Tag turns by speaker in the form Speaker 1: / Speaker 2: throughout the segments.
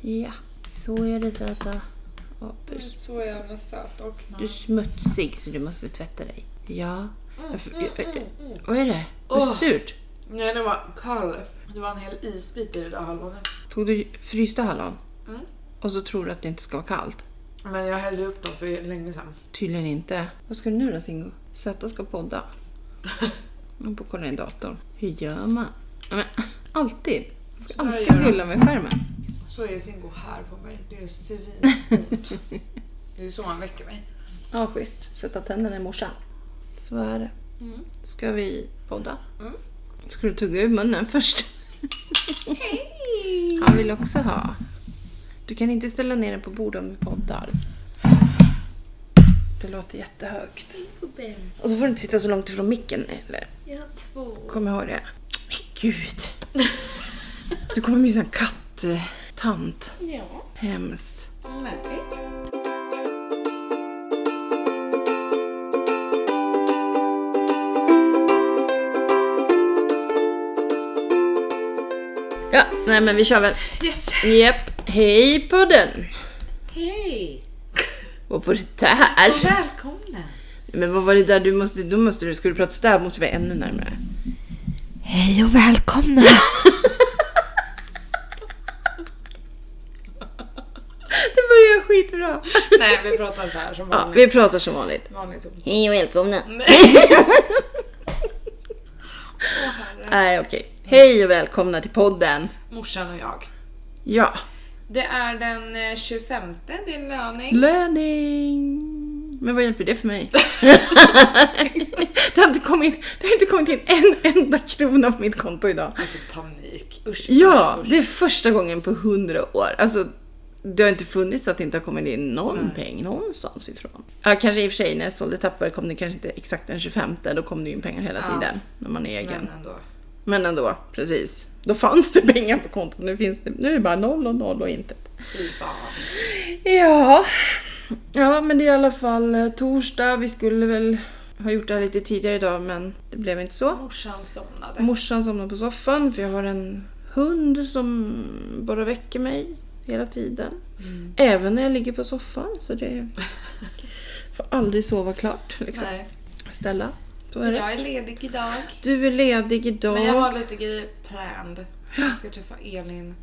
Speaker 1: Ja, så är det söta
Speaker 2: Du är
Speaker 1: apus.
Speaker 2: så jävla söt och
Speaker 1: Du är smutsig så du måste tvätta dig. Ja. Jag f- jag- jag-
Speaker 2: Mm,
Speaker 1: Vad är det?
Speaker 2: Åh.
Speaker 1: Vad surt.
Speaker 2: Nej, det var kall. Det var en hel isbit i det där halvonet.
Speaker 1: Tog du frysta hallon?
Speaker 2: Mm.
Speaker 1: Och så tror du att det inte ska vara kallt?
Speaker 2: Men jag hällde upp dem för länge sedan.
Speaker 1: Tydligen inte. Vad ska du nu då Singo? Zäta ska podda. Hon får kolla i datorn. Hur gör man? Ja, Men, alltid. Jag ska
Speaker 2: Så där
Speaker 1: alltid
Speaker 2: gör de.
Speaker 1: gulla med skärmen.
Speaker 2: Så är Singo här på mig. Det är svinont. det är så han väcker mig.
Speaker 1: Ja, schysst. Sätta tänderna i morsan. Så är det.
Speaker 2: Mm.
Speaker 1: Ska vi podda?
Speaker 2: Mm.
Speaker 1: Ska du tugga ur munnen först?
Speaker 2: Hej!
Speaker 1: Han vill också ha. Du kan inte ställa ner den på bordet om vi poddar. Det låter jättehögt. Och så får du inte sitta så långt ifrån micken eller?
Speaker 2: Jag har två.
Speaker 1: Kom ihåg det. Men gud! Du kommer bli en kattant.
Speaker 2: Ja.
Speaker 1: Hemskt.
Speaker 2: Nej.
Speaker 1: Ja, nej men vi kör väl.
Speaker 2: Yes!
Speaker 1: Japp. Hej podden!
Speaker 2: Hej!
Speaker 1: Vad var det där?
Speaker 2: Välkomna!
Speaker 1: Men vad var det där du måste, då måste du, ska du prata sådär måste vi vara ännu närmare.
Speaker 2: Hej och välkomna!
Speaker 1: Det börjar skitbra.
Speaker 2: Nej, vi pratar så här som
Speaker 1: Ja,
Speaker 2: vanligt.
Speaker 1: vi pratar som vanligt.
Speaker 2: Vanlig ton.
Speaker 1: Hej och välkomna.
Speaker 2: Åh herre.
Speaker 1: Nej okej. Hej och välkomna till podden.
Speaker 2: Morsan och jag.
Speaker 1: Ja.
Speaker 2: Det är den eh, 25, det är löning.
Speaker 1: Löning. Men vad hjälper det för mig? det, har inte kommit, det har inte kommit in en enda krona på mitt konto idag.
Speaker 2: Alltså panik. Usch,
Speaker 1: Ja,
Speaker 2: usch, usch.
Speaker 1: det är första gången på hundra år. Alltså, det har inte funnits att det inte har kommit in någon peng någonstans ifrån. Ja, kanske i och för sig när jag sålde tappare kom det kanske inte exakt den 25, då kom det ju in pengar hela
Speaker 2: Ja.
Speaker 1: tiden när man är egen.
Speaker 2: Men
Speaker 1: Men,
Speaker 2: ändå.
Speaker 1: ändå, precis. Då fanns det pengar på kontot, nu finns det, nu är det bara noll och noll och intet.
Speaker 2: Fy fan.
Speaker 1: Ja. ja, men det är i alla fall eh, torsdag. Vi skulle väl ha gjort det här lite tidigare idag, men det blev inte så.
Speaker 2: Morsan somnade.
Speaker 1: Morsan somnar på soffan för jag har en hund som bara väcker mig hela tiden. Även när jag ligger på soffan. Så det får aldrig sova klart. Liksom.
Speaker 2: Nej.
Speaker 1: Ställa, så är det.
Speaker 2: Jag är ledig idag.
Speaker 1: Du är ledig idag.
Speaker 2: Men jag har lite grejer planned. Jag ska träffa Elin,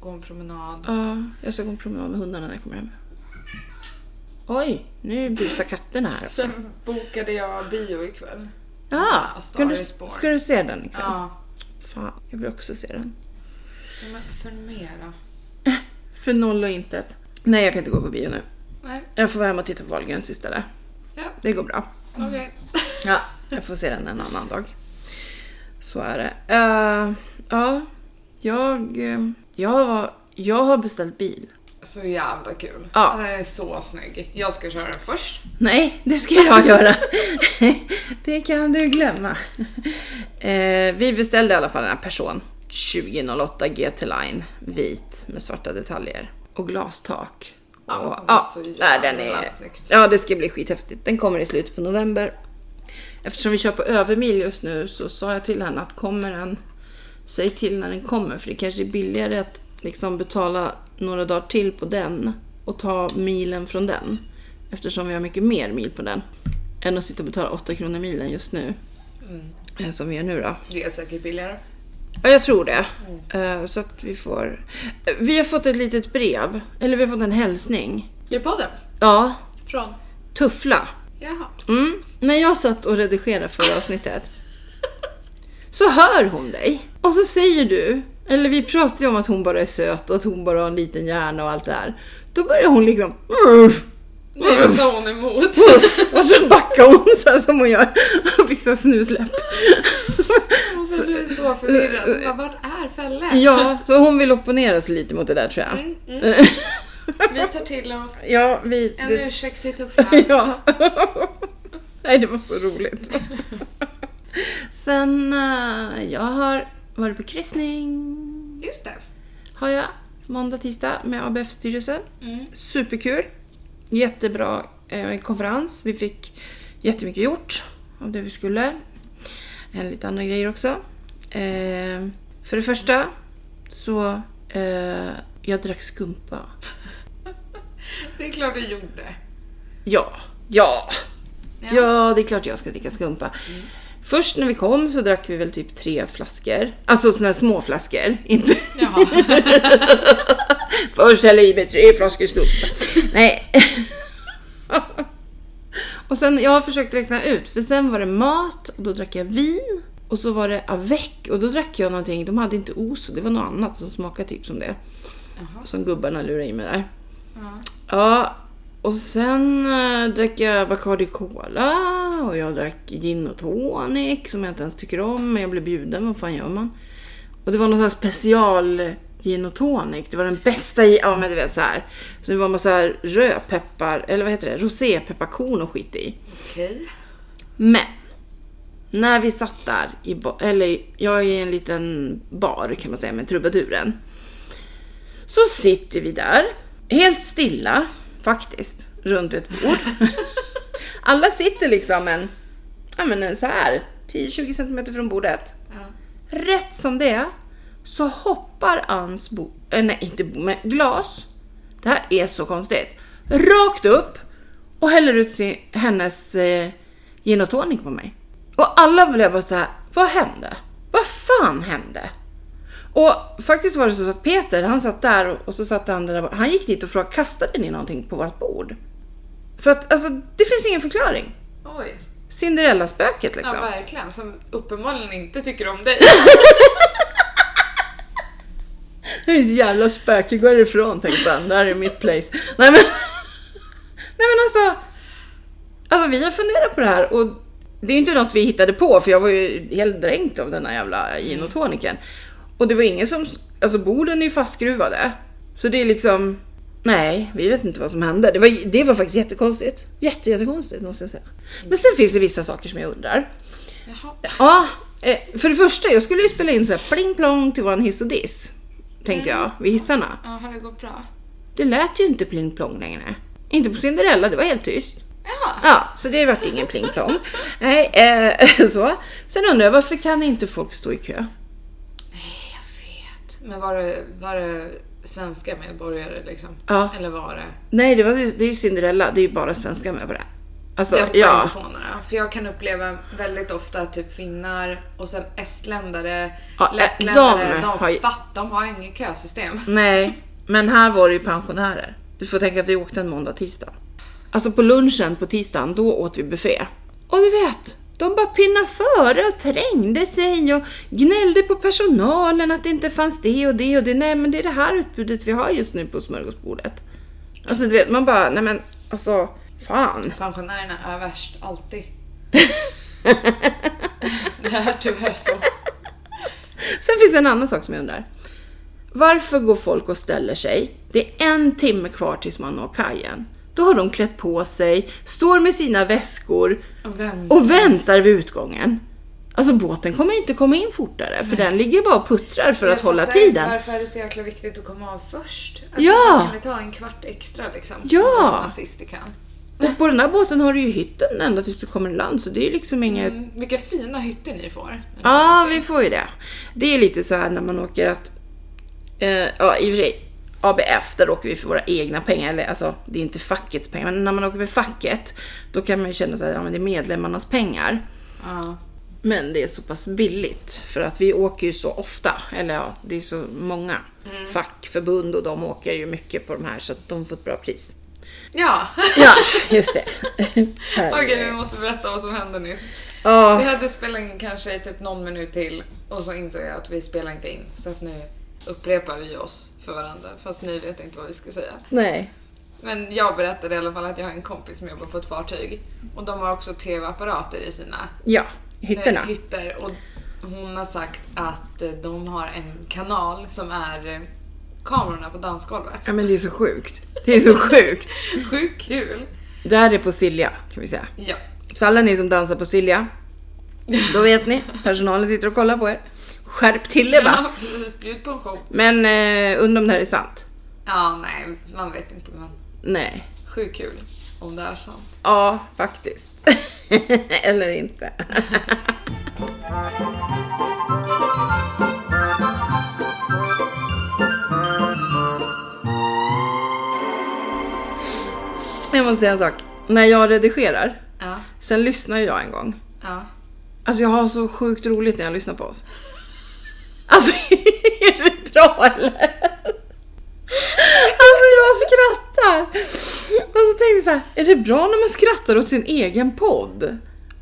Speaker 2: gå en promenad.
Speaker 1: Ja, jag ska gå en promenad med hundarna när jag kommer hem. Oj, nu busar katterna här.
Speaker 2: Sen bokade jag bio ikväll.
Speaker 1: Ja, ska du, ska du se den ikväll?
Speaker 2: Ja.
Speaker 1: Fan, jag vill också se den.
Speaker 2: Men för mera.
Speaker 1: För noll och intet. Nej, jag kan inte gå på bio nu.
Speaker 2: Nej,
Speaker 1: Jag får vara hemma och titta på Wahlgrens istället.
Speaker 2: ja,
Speaker 1: Det går bra.
Speaker 2: okej.
Speaker 1: Ja, jag får se den en annan dag. Så är det. Eh, ja, jag, eh, jag, var- jag har beställt bil.
Speaker 2: Så jävla kul.
Speaker 1: Ja.
Speaker 2: Den här är så snygg. Jag ska köra den först.
Speaker 1: Nej, det ska jag göra. det kan du glömma. Eh, vi beställde i alla fall den här person. 2008 GT Line, vit med svarta detaljer och glastak.
Speaker 2: Ja,
Speaker 1: och,
Speaker 2: det var
Speaker 1: ja,
Speaker 2: så
Speaker 1: nej, den
Speaker 2: jävla
Speaker 1: är,
Speaker 2: snyggt.
Speaker 1: ja, det ska bli skithäftigt. Den kommer i slutet på november. Eftersom vi kör på övermil just nu så sa jag till henne att kommer den, säg till när den kommer för det kanske är billigare att liksom betala några dagar till på den och ta milen från den. Eftersom vi har mycket mer mil på den. Än att sitta och betala 8 kronor milen just nu. Eh, Som vi gör nu då.
Speaker 2: Det är säkert billigare.
Speaker 1: Ja, jag tror det. Eh, Så att vi får... Eh, Vi har fått ett litet brev. Eller vi har fått en hälsning.
Speaker 2: I podden?
Speaker 1: Ja,
Speaker 2: Från?
Speaker 1: Tuffla.
Speaker 2: Jaha.
Speaker 1: Mm. När jag satt och redigerade förra avsnittet så hör hon dig. Och så säger du, eller vi pratade ju om att hon bara är söt och att hon bara har en liten hjärna och allt det där. Då börjar hon liksom "Uff,
Speaker 2: Nu sa hon emot.
Speaker 1: uff", och så backar hon så här som hon gör och fixar snusläpp.
Speaker 2: Alltså, du är så förvirrad. Hon bara, vart är Fälle?
Speaker 1: Ja, så hon vill opponera sig lite mot det där tror jag.
Speaker 2: Mm, mm. Vi tar till oss
Speaker 1: Ja, vi...
Speaker 2: en
Speaker 1: det-
Speaker 2: ursäkt till Tuffla.
Speaker 1: Ja. Nej, det var så roligt. Sen, eh, jag har varit på kryssning.
Speaker 2: Just det.
Speaker 1: Har jag. Måndag, tisdag med ABF-styrelsen.
Speaker 2: Mm.
Speaker 1: Superkul. Jättebra eh, konferens. Vi fick jättemycket gjort av det vi skulle. Eh, Lite andra grejer också. Eh, för det första så eh, Jag drack skumpa.
Speaker 2: Det är klart du gjorde.
Speaker 1: Ja, ja,
Speaker 2: Ja.
Speaker 1: ja, det är klart jag ska dricka skumpa. Först när vi kom så drack vi väl typ tre flaskor. Alltså såna här små flaskor. Inte
Speaker 2: Jaha.
Speaker 1: först häller jag i mig tre flaskor skumpa. Nej. och sen, jag har försökt räkna ut, för sen var det mat och då drack jag vin. Och så var det avec och då drack jag någonting, de hade inte ost, det var något annat som smakade typ som det.
Speaker 2: Jaha.
Speaker 1: Som gubbarna lurade i mig där.
Speaker 2: Ja.
Speaker 1: Ja, och sen eh, drack jag Bacardi Cola och jag drack gin och tonic som jag inte ens tycker om, men jag blev bjuden. Vad fan gör man? Och det var någon sån här special gin och tonic. Det var den bästa i, ja men du vet så här. Så det var en massa rödpeppar, eller vad heter det, rosépepparkorn och skit i.
Speaker 2: Okej.
Speaker 1: Men när vi satt där, i ba- eller jag är i en liten bar kan man säga med trubaduren. Så sitter vi där, helt stilla faktiskt, runt ett bord. Alla sitter liksom en, ja men så här, 10-20 centimeter från bordet.
Speaker 2: Ja.
Speaker 1: Rätt som det är så hoppar Anns bo, eh, nej inte bo, men glas. Det här är så konstigt. Rakt upp och häller ut sin, hennes eh, gin och tonic på mig. Och alla blev bara så här, vad hände? Vad fan hände? Och faktiskt var det så att Peter, han satt där och, och så satt han där borta. Han gick dit och frågade, kastade ni någonting på vårt bord? För att alltså, det finns ingen förklaring.
Speaker 2: Oj.
Speaker 1: Cinderella-spöket
Speaker 2: Ja,
Speaker 1: liksom.
Speaker 2: verkligen. Som uppenbarligen inte tycker om dig.
Speaker 1: Nu är det ett jävla spöke, gå härifrån tänkte han. Det här är mitt place. Nej men, Nej, men alltså, alltså, vi har funderat på det här och det är ju inte något vi hittade på för jag var ju helt dränkt av den här jävla gin och toniken. Och det var ingen som, alltså borden är ju fastskruvade. Så det är liksom, nej vi vet inte vad som hände. Det var, det var faktiskt jättekonstigt. Jätte, jättekonstigt måste jag säga. Men sen finns det vissa saker som jag undrar.
Speaker 2: Jaha.
Speaker 1: Ja, eh, för det första, jag skulle ju spela in så här pling plong till våran hiss och diss. Tänkte jag,
Speaker 2: Mm.
Speaker 1: vid hissarna.
Speaker 2: Ja, har det gått bra?
Speaker 1: Det lät ju inte pling plong längre. Inte på Cinderella, det var helt tyst.
Speaker 2: Ja.
Speaker 1: Ja, så det vart ingen pling plong. Nej, eh, så. Sen undrar jag, varför kan inte folk stå i kö?
Speaker 2: Nej, jag vet. Men var det, var det svenska medborgare liksom?
Speaker 1: Ja.
Speaker 2: Eller var det?
Speaker 1: Nej, det, var, ju- det är ju Cinderella, det är ju bara svenskar med på det. Alltså,
Speaker 2: Jag hoppar
Speaker 1: ja.
Speaker 2: inte på några. För jag kan uppleva väldigt ofta att typ finnar och sen estländare,
Speaker 1: Ja, eh,
Speaker 2: lettländare,
Speaker 1: de
Speaker 2: de,
Speaker 1: har ju-
Speaker 2: fatt, de har inget kösystem.
Speaker 1: Nej, men här var det ju pensionärer. Du får tänka att vi åkte en måndag, tisdag. Alltså på lunchen på tisdagen, då åt vi buffé. Och du vet, de bara pinnade före och trängde sig och gnällde på personalen att det inte fanns det och det och det. Nej, men det är det här utbudet vi har just nu på smörgåsbordet. Alltså du vet, man bara, nej men alltså, fan.
Speaker 2: Pensionärerna är värst, alltid. det är tyvärr så.
Speaker 1: Sen finns det en annan sak som jag undrar. Varför går folk och ställer sig? Det är en timme kvar tills man når kajen. Då har de klätt på sig, står med sina väskor
Speaker 2: Och vem?
Speaker 1: och väntar vid utgången. Alltså båten kommer inte komma in fortare för den ligger bara och puttrar för
Speaker 2: Jag
Speaker 1: att hålla
Speaker 2: fattar inte
Speaker 1: tiden.
Speaker 2: Varför är det så jäkla viktigt att komma av först? Alltså,
Speaker 1: Ja.
Speaker 2: Kan det ta en kvart extra liksom?
Speaker 1: Ja.
Speaker 2: Om man Sist det kan.
Speaker 1: Och på den här båten har du ju hytten ända tills du kommer i land så det är ju liksom inget...
Speaker 2: Mm, vilka fina hytter ni får.
Speaker 1: Ja, vi får ju det. Det är lite så här när man åker att... Eh, ja, i och för sig. ABF, där åker vi för våra egna pengar. Eller alltså, det är inte fackets pengar. Men när man åker med facket, då kan man ju känna så här, ja men det är medlemmarnas pengar.
Speaker 2: Ja.
Speaker 1: Men det är så pass billigt. För att vi åker ju så ofta. Eller ja, det är så många fackförbund och de åker ju mycket på de här så att de får ett bra pris.
Speaker 2: Ja,
Speaker 1: Ja, just det. Här
Speaker 2: okej
Speaker 1: är det.
Speaker 2: vi måste berätta vad som hände nyss.
Speaker 1: Ja.
Speaker 2: Vi hade spelat in kanske typ någon minut till och så insåg jag att vi spelar inte in. Så att nu upprepar vi oss för varandra fast ni vet inte vad vi ska säga.
Speaker 1: Nej.
Speaker 2: Men jag berättade i alla fall att jag har en kompis som jobbar på ett fartyg och de har också tv-apparater i sina
Speaker 1: Ja,
Speaker 2: eh,
Speaker 1: hytterna.
Speaker 2: hytter. Och hon har sagt att eh, de har en kanal som är eh, kamerorna på dansgolvet.
Speaker 1: Ja men det är så sjukt. Det är så sjukt.
Speaker 2: Sjukt kul!
Speaker 1: Det här är på Silja kan vi säga.
Speaker 2: Ja.
Speaker 1: Så alla ni som dansar på Silja, då vet ni. Personalen sitter och kollar på er. Skärp till er bara.
Speaker 2: ja precis, bjud på en show.
Speaker 1: Men eh, undrar om det här är sant?
Speaker 2: Ja, nej, man vet inte men
Speaker 1: Nej.
Speaker 2: sjukt kul om det är sant.
Speaker 1: Ja, faktiskt. Eller inte. Jag måste säga en sak. När jag redigerar,
Speaker 2: Ja,
Speaker 1: sen lyssnar ju jag en gång.
Speaker 2: ja.
Speaker 1: Alltså jag har så sjukt roligt när jag lyssnar på oss. Alltså är det bra eller? Alltså jag skrattar. Och så tänkte jag så här, är det bra när man skrattar åt sin egen podd?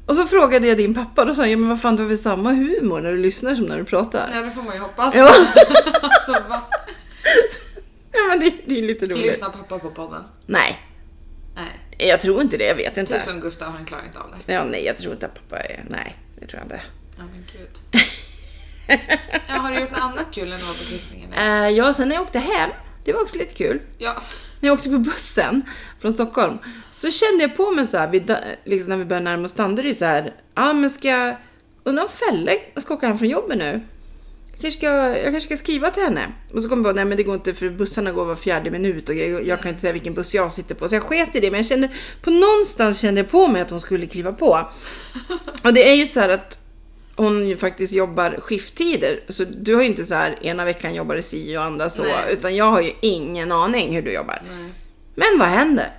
Speaker 1: Och så frågade jag din pappa, då sa han, ja men vad fan du har väl samma humor när du lyssnar som när du pratar?
Speaker 2: Nej, det får man ju hoppas.
Speaker 1: Ja.
Speaker 2: alltså, va?
Speaker 1: Ja men det, det är lite roligt.
Speaker 2: Lyssnar pappa på podden?
Speaker 1: Nej,
Speaker 2: Nej.
Speaker 1: jag tror inte det, jag vet inte.
Speaker 2: Tusen Gustav, han klarar inte av det.
Speaker 1: Ja, nej jag tror inte att pappa är, nej det tror jag inte.
Speaker 2: Ja, men gud. Ja, har du gjort något annat kul än att vara på kryssningen?
Speaker 1: Eh, ja, sen när jag åkte hem, det var också lite kul.
Speaker 2: Ja,
Speaker 1: När jag åkte på bussen från Stockholm så kände jag på mig så här, vid, liksom när vi började närma oss Danderyd så här, ja men ska jag, undra om Felle ska åka hem från jobbet nu? Jag kanske, ska, jag kanske ska skriva till henne. Och så kom jag på, nej men det går inte för bussarna går var fjärde minut och jag, jag kan inte säga vilken buss jag sitter på. Så jag sket i det, men jag kände, på någonstans kände jag på mig att hon skulle kliva på. Och det är ju så här att hon ju faktiskt jobbar skifttider. Så du har ju inte så här, ena veckan jobbar det si och andra så.
Speaker 2: Nej.
Speaker 1: Utan jag har ju ingen aning hur du jobbar.
Speaker 2: nej.
Speaker 1: Men vad händer?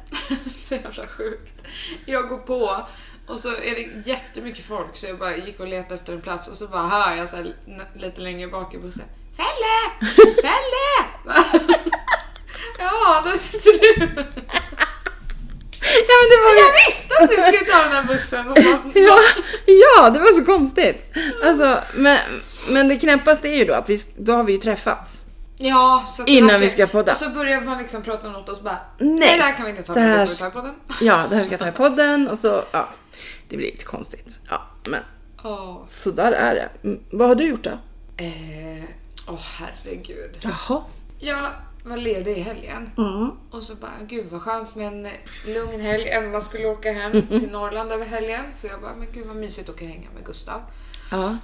Speaker 2: Så jävla sjukt. Jag går på och så är det jättemycket folk så jag bara gick och letade efter en plats och så bara hör jag så här, n- lite längre bak i bussen. Fälle! Fälle! ja, där sitter du.
Speaker 1: Ja men det var ju...
Speaker 2: Jag visste att du skulle ta den här bussen. Och bara,
Speaker 1: Ja, ja, det var så konstigt. Alltså, men, men det knäppaste är ju då att vi, då har vi ju träffats.
Speaker 2: ja, så att-
Speaker 1: Innan vi ska podda.
Speaker 2: Och så börjar man liksom prata om något och så bara
Speaker 1: Nej.
Speaker 2: nej, nej det här kan vi inte ta,
Speaker 1: Det
Speaker 2: det
Speaker 1: här-
Speaker 2: får vi ta på den.
Speaker 1: Ja, det här ska jag ta i podden och så, ja. Det blir lite konstigt. Ja, men
Speaker 2: Åh,
Speaker 1: så där är det. Mm, Vad har du gjort då?
Speaker 2: eh, åh, herregud.
Speaker 1: Jaha.
Speaker 2: Jag var ledig i helgen.
Speaker 1: Mm.
Speaker 2: Och så bara, gud vad skönt med en lugn helg. Även om man skulle åka hem till Norrland över helgen. Så jag bara, men gud vad mysigt att åka och hänga med Gustav.
Speaker 1: Ja.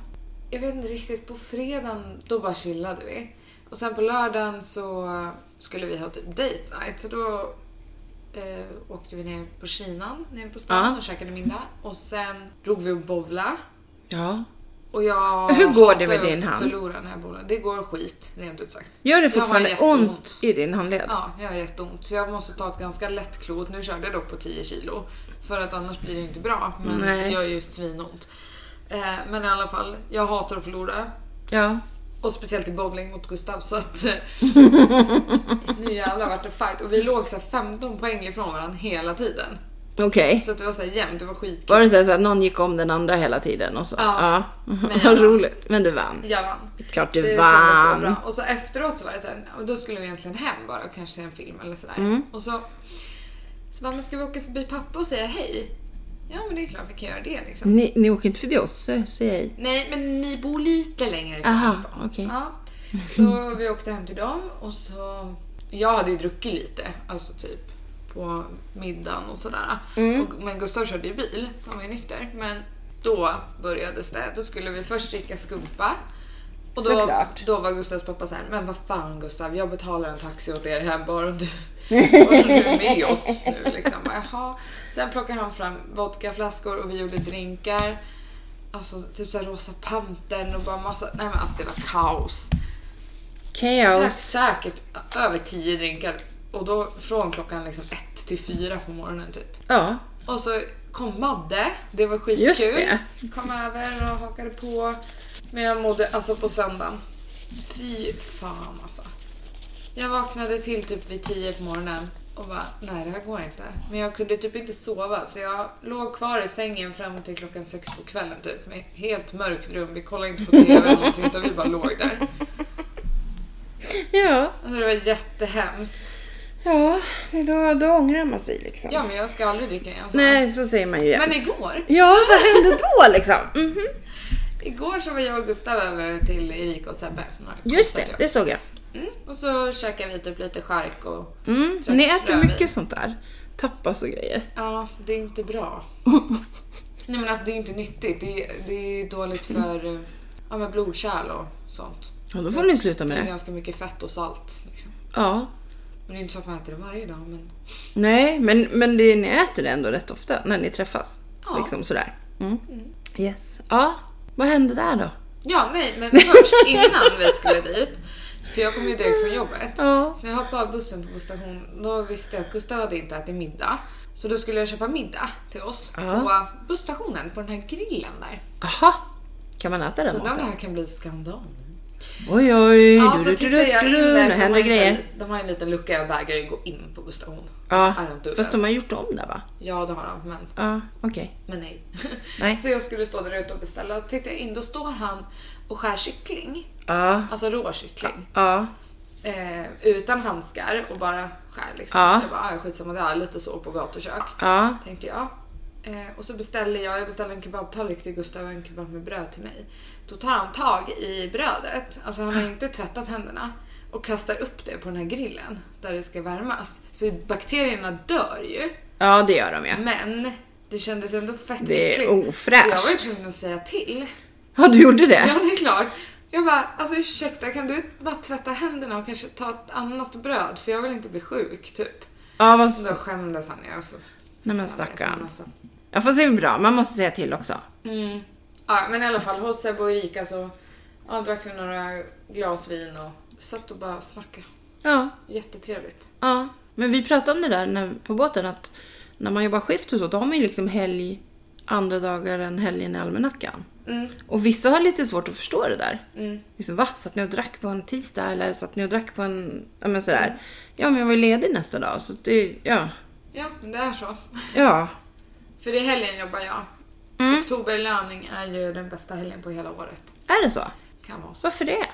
Speaker 2: Jag vet inte riktigt, på fredagen då bara chillade vi. Och sen på lördagen så skulle vi ha typ date night. Så då eh, åkte vi ner på Kinan, nere på stan
Speaker 1: Ja.
Speaker 2: och käkade middag. Och sen drog vi och bowla.
Speaker 1: Ja.
Speaker 2: Och jag
Speaker 1: Hur går det
Speaker 2: hatar
Speaker 1: med
Speaker 2: att
Speaker 1: din hand?
Speaker 2: förlora när jag bowlar. Det går skit, rent ut sagt.
Speaker 1: Gör det
Speaker 2: Jag har
Speaker 1: fortfarande
Speaker 2: jätteont.
Speaker 1: ont i din handled?
Speaker 2: Ja, jag har jätteont. Så jag måste ta ett ganska lätt klot. Nu körde jag dock på 10 kilo. För att annars blir det inte bra. Men
Speaker 1: Nej.
Speaker 2: det gör ju svinont. Eh, men i alla fall, jag hatar att förlora.
Speaker 1: Ja.
Speaker 2: Och speciellt i bowling mot Gustav så att... eh, nu jävlar vart det fight. Och vi låg så här 15 poäng ifrån varandra hela tiden.
Speaker 1: Okej.
Speaker 2: Så att det var så här jämnt, det var skitkul.
Speaker 1: Var det så här så att någon gick om den andra hela tiden och så?
Speaker 2: Ja. Men jag
Speaker 1: Vad
Speaker 2: vann.
Speaker 1: roligt. Men du vann.
Speaker 2: Jag vann.
Speaker 1: Klart du
Speaker 2: Det kändes så
Speaker 1: vann.
Speaker 2: bra. Och så efteråt så var det så här, och då skulle vi egentligen hem bara och kanske se en film eller sådär. Och så, så bara, men ska vi åka förbi pappa och säga hej? Ja men det är klart vi kan göra det liksom.
Speaker 1: Ni, ni åker inte förbi oss, så säger jag.
Speaker 2: Nej men ni bor lite längre ifrån
Speaker 1: Aha,
Speaker 2: oss då.
Speaker 1: okej.
Speaker 2: Ja. Så vi åkte hem till dem och så, jag hade ju druckit lite, alltså typ på middagen och sådär. Och, men Gustav körde ju bil, han var ju nykter. Men då började det, då skulle vi först dricka skumpa. Och då,
Speaker 1: Såklart.
Speaker 2: då var Gustavs pappa såhär, men vad fan Gustav, jag betalar en taxi åt er hem bara om du, bara om du är med oss nu. Liksom. Bara, Jaha. Sen plockade han fram vodkaflaskor och vi gjorde drinkar. Alltså typ såhär rosa pantern och bara massa, nej men alltså det var kaos. Jag drack
Speaker 1: Kaos.
Speaker 2: säkert över tio drinkar och då från klockan liksom ett till fyra på morgonen typ.
Speaker 1: Ja.
Speaker 2: Och så kom Madde, det var skitkul.
Speaker 1: Just det.
Speaker 2: Kom över och hakade på. Men jag mådde, alltså på söndagen, fy fan alltså. Jag vaknade till typ vid 10 på morgonen och bara, nej det här går inte. Men jag kunde typ inte sova så jag låg kvar i sängen fram till klockan sex på kvällen typ. Med helt mörkt rum, vi kollade inte på TV eller någonting utan vi bara låg där.
Speaker 1: Ja.
Speaker 2: Alltså det var jättehemskt.
Speaker 1: Ja, då, då ångrar man sig liksom.
Speaker 2: Ja men jag ska aldrig dricka igen. sa
Speaker 1: Nej, så säger man ju
Speaker 2: jag.
Speaker 1: jämt.
Speaker 2: Men igår,
Speaker 1: Ja, vad hände då liksom? Mhm.
Speaker 2: Igår så var jag och Gustav över till Erika och Sebbe. några
Speaker 1: Just
Speaker 2: kompisar
Speaker 1: det,
Speaker 2: till
Speaker 1: det
Speaker 2: oss.
Speaker 1: såg jag.
Speaker 2: Mm. Och så käkade vi typ lite chark och...
Speaker 1: Mm.
Speaker 2: Drack
Speaker 1: Ni äter
Speaker 2: rödvin.
Speaker 1: mycket sånt där. Tappas och grejer.
Speaker 2: Ja, det är inte bra. Nej men alltså det är ju inte nyttigt. Det är, det är dåligt för eh, ja, men blodkärl och sånt.
Speaker 1: Ja, då får ni sluta
Speaker 2: Det
Speaker 1: med
Speaker 2: är
Speaker 1: det.
Speaker 2: ganska mycket fett och salt. Liksom.
Speaker 1: Ja.
Speaker 2: Men det är inte så att man äter det varje dag. Men...
Speaker 1: Nej, men, men det, ni äter det ändå rätt ofta när ni träffas.
Speaker 2: Ja.
Speaker 1: Liksom sådär. Mm. Yes. Ja, vad hände där då?
Speaker 2: Ja, nej men först innan vi skulle dit För jag kom ju direkt från jobbet.
Speaker 1: Ja.
Speaker 2: Så när jag hoppade av bussen på stationen, då visste jag att Gustav hade inte ätit middag. Så då skulle jag köpa middag till oss
Speaker 1: Ja.
Speaker 2: på busstationen, på den här grillen där.
Speaker 1: Aha. Kan man äta den
Speaker 2: Undrar om det
Speaker 1: maten?
Speaker 2: här kan bli skandal.
Speaker 1: Oj, oj.
Speaker 2: Ja,
Speaker 1: du,
Speaker 2: så
Speaker 1: du, du,
Speaker 2: tittade jag
Speaker 1: du,
Speaker 2: in
Speaker 1: du,
Speaker 2: där,
Speaker 1: nu
Speaker 2: för de har
Speaker 1: händer
Speaker 2: ju så här-
Speaker 1: grejer.
Speaker 2: De har en liten lucka, jag vägrar ju gå in på busstationen.
Speaker 1: Ja,
Speaker 2: Så är de
Speaker 1: fast
Speaker 2: dörren.
Speaker 1: de har gjort om det va?
Speaker 2: Ja, det har de, men
Speaker 1: Ja, okej.
Speaker 2: Men nej.
Speaker 1: Nej.
Speaker 2: Så jag skulle stå där ute och beställa och så tittade jag in, då står han och skär kyckling,
Speaker 1: Ja,
Speaker 2: alltså rå kyckling,
Speaker 1: ja,
Speaker 2: eh, utan handskar och bara skär liksom.
Speaker 1: Ja.
Speaker 2: Jag bara, ah, skitsamma det är lite så på gatukök,
Speaker 1: ja,
Speaker 2: tänkte jag. Eh, och så beställer jag, jag beställer en kebabtallrik till Gustav och en kebab med bröd till mig. Då tar han tag i brödet, alltså han har inte tvättat händerna och kastar upp det på den här grillen där det ska värmas. Så bakterierna dör ju.
Speaker 1: ja, det gör de ju.
Speaker 2: Men det kändes ändå fett
Speaker 1: Det är
Speaker 2: äckligt.
Speaker 1: ofräscht.
Speaker 2: Så Jag var ju tvungen att säga till.
Speaker 1: Ja, du gjorde det?
Speaker 2: Ja, det är klart. Jag bara, alltså ursäkta kan du bara tvätta händerna och kanske ta ett annat bröd för jag vill inte bli sjuk typ.
Speaker 1: Ja, vad...
Speaker 2: Så då skämdes han ju. och Så.
Speaker 1: Nej men
Speaker 2: sa han det, men
Speaker 1: stackarn.
Speaker 2: alltså.
Speaker 1: Ja, fast det är bra. Man måste säga till också.
Speaker 2: Mm. Ja, men i alla fall hos Sebbe och Erika så ja, drack vi några glas vin och satt och bara snackade.
Speaker 1: Ja,
Speaker 2: Jättetrevligt.
Speaker 1: ja. Men vi pratade om det där när, på båten att när man jobbar skift och så, då har man ju liksom helg andra dagar än helgen i almanackan.
Speaker 2: Mm,
Speaker 1: Och vissa har lite svårt att förstå det där.
Speaker 2: mm.
Speaker 1: Liksom, va? Satt ni och drack på en tisdag eller satt ni och drack på en... Ja men
Speaker 2: Mm.
Speaker 1: sådär. Ja men jag var ju ledig nästa dag så det... Ja.
Speaker 2: Ja, men det är så.
Speaker 1: Ja.
Speaker 2: För i helgen jobbar jag.
Speaker 1: Mm.
Speaker 2: Oktoberlöning är ju den bästa helgen på hela året.
Speaker 1: Är det så?
Speaker 2: Kan vara så.
Speaker 1: Varför det? Jag,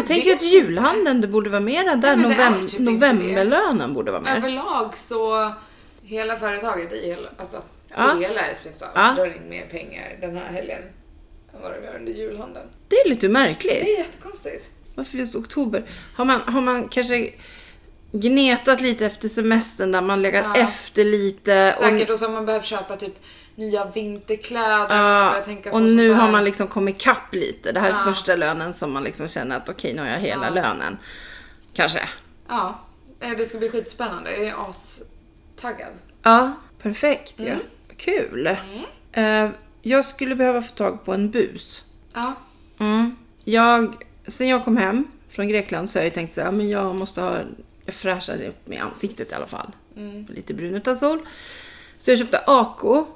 Speaker 2: Jag
Speaker 1: tänker
Speaker 2: vet
Speaker 1: att julhandeln det borde vara mera där.
Speaker 2: men det är
Speaker 1: Novem-
Speaker 2: typ inte
Speaker 1: novemberlönen borde vara med.
Speaker 2: Överlag så, hela företaget i hela, alltså,
Speaker 1: Ja.
Speaker 2: i hela Espresso
Speaker 1: Ja.
Speaker 2: drar in mer pengar den här helgen än vad de gör under julhandeln.
Speaker 1: Det är lite märkligt.
Speaker 2: Det är jättekonstigt.
Speaker 1: Varför just oktober? Har man, har man kanske gnetat lite efter semestern där man legat
Speaker 2: Ja.
Speaker 1: efter lite.
Speaker 2: Säkert,
Speaker 1: och,
Speaker 2: och så har man behövt köpa typ nya vinterkläder. man har
Speaker 1: ja,
Speaker 2: börjat tänka på
Speaker 1: och
Speaker 2: sånt
Speaker 1: nu har
Speaker 2: där.
Speaker 1: man liksom kommit kapp lite. Det här är
Speaker 2: Ja.
Speaker 1: första lönen som man liksom känner att okej, nu har jag hela
Speaker 2: Ja.
Speaker 1: lönen. Kanske.
Speaker 2: Ja, eh, det ska bli skitspännande. Jag är astaggad.
Speaker 1: Ja, perfekt
Speaker 2: Mm.
Speaker 1: ja. Kul. Eh, jag skulle behöva få tag på en bus.
Speaker 2: Ja,
Speaker 1: Mm. Jag, sen jag kom hem från Grekland så har jag ju tänkt så här, men jag måste ha, jag fräschade upp mig i ansiktet i alla fall.
Speaker 2: Mm.
Speaker 1: Lite brun utan sol. Så jag köpte Ako.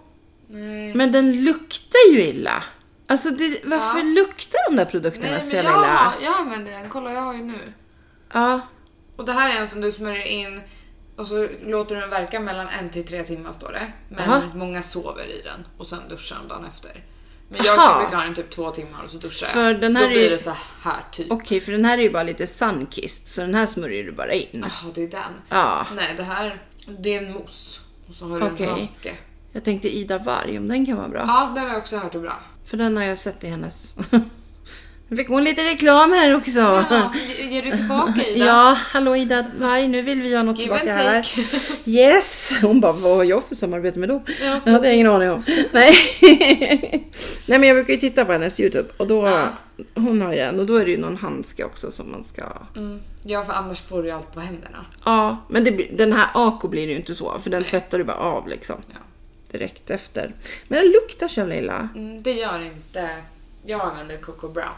Speaker 2: nej.
Speaker 1: Men den luktar ju illa. Alltså det, varför
Speaker 2: Ja.
Speaker 1: luktar de där produkterna
Speaker 2: Nej,
Speaker 1: så
Speaker 2: men
Speaker 1: jävla
Speaker 2: jag,
Speaker 1: illa?
Speaker 2: har- jag använder den. Kolla, jag har ju nu.
Speaker 1: Ja.
Speaker 2: Och det här är en som du smörjer in och så låter du den verka mellan en till tre timmar står det. Men
Speaker 1: Aha.
Speaker 2: många sover i den och sen duschar de dagen efter. Men jag
Speaker 1: Aha.
Speaker 2: brukar ha den typ två timmar och så duschar jag.
Speaker 1: För den här
Speaker 2: Då blir
Speaker 1: är-
Speaker 2: det så här typ.
Speaker 1: Okej, för den här är ju bara lite sunkissed, så den här smörjer du bara in.
Speaker 2: Jaha, det är den.
Speaker 1: Ja.
Speaker 2: Nej, det här det är en mousse. Och så har du
Speaker 1: Okej.
Speaker 2: en handske.
Speaker 1: Jag tänkte Ida Varg, om den kan vara bra.
Speaker 2: Ja, den har jag också hört är bra.
Speaker 1: För den har jag sett i hennes... Nu fick hon lite reklam här också.
Speaker 2: Ja, ge- ger du tillbaka i den?
Speaker 1: Ja, hallå Ida Varg, nu vill vi ha något
Speaker 2: Give and
Speaker 1: tillbaka här.
Speaker 2: take.
Speaker 1: Yes! Hon bara, vad har jag för samarbete med dem?
Speaker 2: Ja.
Speaker 1: det hade jag ingen aning om. Nej. Nej men jag brukar ju titta på hennes YouTube och då,
Speaker 2: Ja.
Speaker 1: hon har ju en och då är det ju någon handske också som man ska...
Speaker 2: Mm. Ja, för annars får du ju allt på händerna.
Speaker 1: Ja, men det, blir- den här Ako blir det ju inte så för den tvättar du bara av liksom.
Speaker 2: Ja.
Speaker 1: Direkt efter. Men den luktar så jävla illa.
Speaker 2: Mm, det gör inte... Jag använder Coco Brown.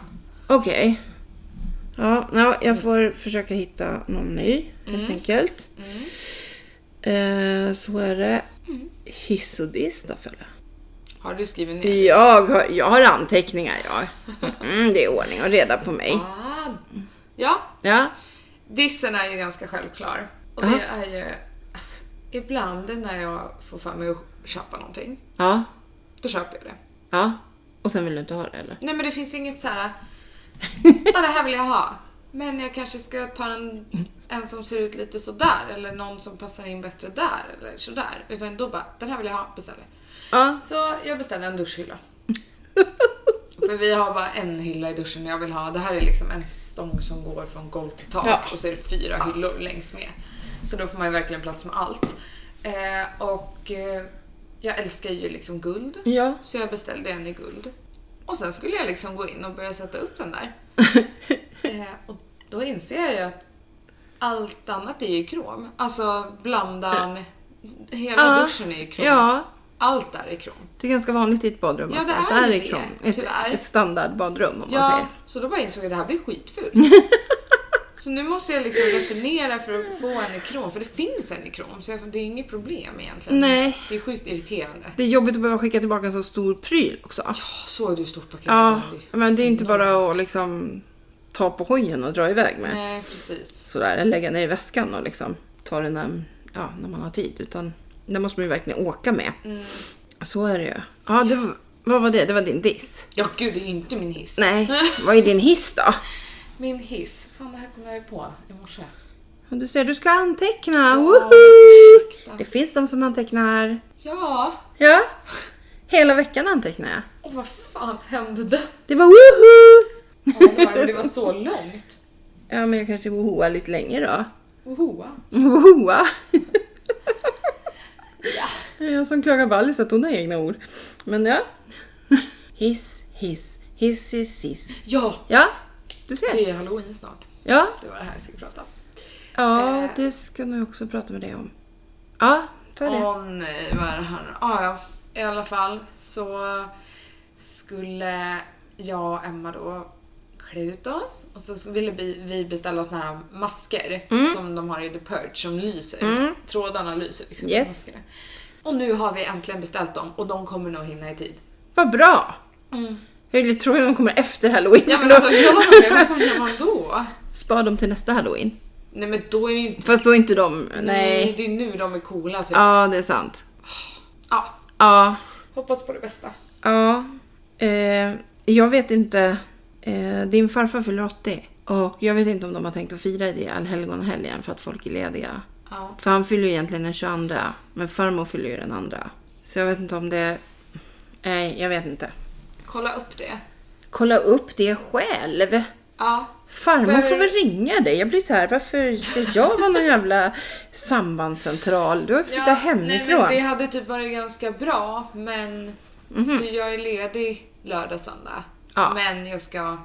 Speaker 1: Okej. Ja, ja, jag får försöka hitta någon ny helt
Speaker 2: Mm.
Speaker 1: enkelt. Eh, så är det. Hiss och diss då Felle.
Speaker 2: Har du skrivit ner?
Speaker 1: Jag har, jag har anteckningar jag. Mm, det är ordning och reda på mig.
Speaker 2: Ah. Ja,
Speaker 1: Ja.
Speaker 2: dissen är ju ganska självklar. Och det är ju... Alltså, ibland när jag får för mig att köpa någonting,
Speaker 1: Ja.
Speaker 2: då köper jag det.
Speaker 1: Ja. Och sen vill du inte ha det eller?
Speaker 2: Nej men det finns inget så här. "Ah, det här vill jag ha. Men jag kanske ska ta en, en som ser ut lite sådär eller någon som passar in bättre där eller sådär. Utan då bara, den här vill jag ha, beställer.
Speaker 1: Ja.
Speaker 2: Så jag beställde en duschhylla. För vi har bara en hylla i duschen jag vill ha. Det här är liksom en stång som går från golv till tak
Speaker 1: Ja.
Speaker 2: och så är det fyra hyllor längs med. Så då får man ju verkligen plats med allt. Eh, och eh, jag älskar ju liksom guld.
Speaker 1: Ja.
Speaker 2: Så jag beställde en i guld. Och sen skulle jag liksom gå in och börja sätta upp den där. Eh, och då inser jag ju att allt annat är ju krom. Alltså blandan, hela
Speaker 1: Ja.
Speaker 2: duschen är ju krom.
Speaker 1: ja.
Speaker 2: Allt där är krom.
Speaker 1: Det är ganska vanligt i ett badrum
Speaker 2: Ja,
Speaker 1: att
Speaker 2: det
Speaker 1: allt
Speaker 2: är ju
Speaker 1: är
Speaker 2: det,
Speaker 1: krång. Ett,
Speaker 2: tyvärr.
Speaker 1: ett standardbadrum om man
Speaker 2: Ja,
Speaker 1: säger.
Speaker 2: så då bara insåg jag att det här blir skitfult. Så nu måste jag liksom returnera för att få en ekrom, för det finns en ekrom. Så jag, det är inget problem egentligen.
Speaker 1: Nej.
Speaker 2: Det är sjukt irriterande.
Speaker 1: Det är jobbigt att behöva skicka tillbaka en så stor pryl också.
Speaker 2: Såg du hur stort paketet
Speaker 1: Ja,
Speaker 2: var?
Speaker 1: men det är inte bara att liksom ta på hojen och dra iväg med.
Speaker 2: Nej, precis.
Speaker 1: Sådär, eller lägga ner i väskan och liksom ta den när, ja, när man har tid. Utan det måste man ju verkligen åka med.
Speaker 2: Mm.
Speaker 1: Så är det ju. Ja, det, var- vad var det? Det var din diss?
Speaker 2: Ja, gud, det är ju inte min hiss.
Speaker 1: Nej, vad är din hiss då?
Speaker 2: Min hiss. Fan, det här kom jag ju på i morse.
Speaker 1: Ja, Du säger du ska anteckna,
Speaker 2: Ja,
Speaker 1: woho!
Speaker 2: ursäkta.
Speaker 1: Det finns de som antecknar.
Speaker 2: Ja,
Speaker 1: Ja, hela veckan antecknar jag.
Speaker 2: och vad fan hände där?
Speaker 1: Det var woho!
Speaker 2: Ja, det var- det var så långt.
Speaker 1: Ja, men jag kanske wohoar lite längre då.
Speaker 2: Ohoa.
Speaker 1: Wohoa! Det är Jag som klagar på Alice att hon har egna ord. Men ja. Hiss, hiss, hiss, hiss, hiss.
Speaker 2: Ja,
Speaker 1: Ja, du ser.
Speaker 2: det är halloween snart.
Speaker 1: Ja,
Speaker 2: Det var det här jag skulle prata om.
Speaker 1: ja
Speaker 2: Eh.
Speaker 1: det ska nog också prata med dig om. Ja, ta det.
Speaker 2: Åh nej, vad är det här nu? Ah, ja, i alla fall så skulle jag och Emma då klä ut oss och så ville vi- vi beställa såna här masker som de har i The Purge som lyser.
Speaker 1: Mm.
Speaker 2: Trådarna lyser liksom. på
Speaker 1: Yes.
Speaker 2: maskerna. Och nu har vi äntligen beställt dem och de kommer nog hinna i tid.
Speaker 1: Vad bra!
Speaker 2: Mm.
Speaker 1: Jag är lite tråkig om de kommer efter halloween.
Speaker 2: Ja
Speaker 1: för
Speaker 2: men
Speaker 1: då-
Speaker 2: alltså gör man det? Vad fan gör man då?
Speaker 1: Spar dem till nästa halloween.
Speaker 2: Nej men då är det ju inte... Mm,
Speaker 1: Fast då är inte de... Nej.
Speaker 2: Det är nu de är coola typ. Ja.
Speaker 1: Ja, det är sant. Ja.
Speaker 2: Hoppas på det bästa.
Speaker 1: Ja. Eh, jag vet inte. Eh, din farfar fyller 80. Och jag vet inte om de har tänkt att fira det allhelgonahelgen för att folk är lediga.
Speaker 2: Ja.
Speaker 1: För han fyller ju egentligen den 22. Men farmor fyller ju den andra. Så jag vet inte om det... Nej, jag vet inte.
Speaker 2: Kolla upp det.
Speaker 1: Kolla upp det själv!
Speaker 2: Ja.
Speaker 1: Farmor
Speaker 2: För-
Speaker 1: får väl ringa dig. Jag blir så här, varför ska jag vara någon jävla sambandscentral? Du har flyttat
Speaker 2: Nej,
Speaker 1: hemifrån.
Speaker 2: men det hade typ varit ganska bra, men för jag är ledig lördag, söndag.
Speaker 1: Mhm. Ja.
Speaker 2: Men jag ska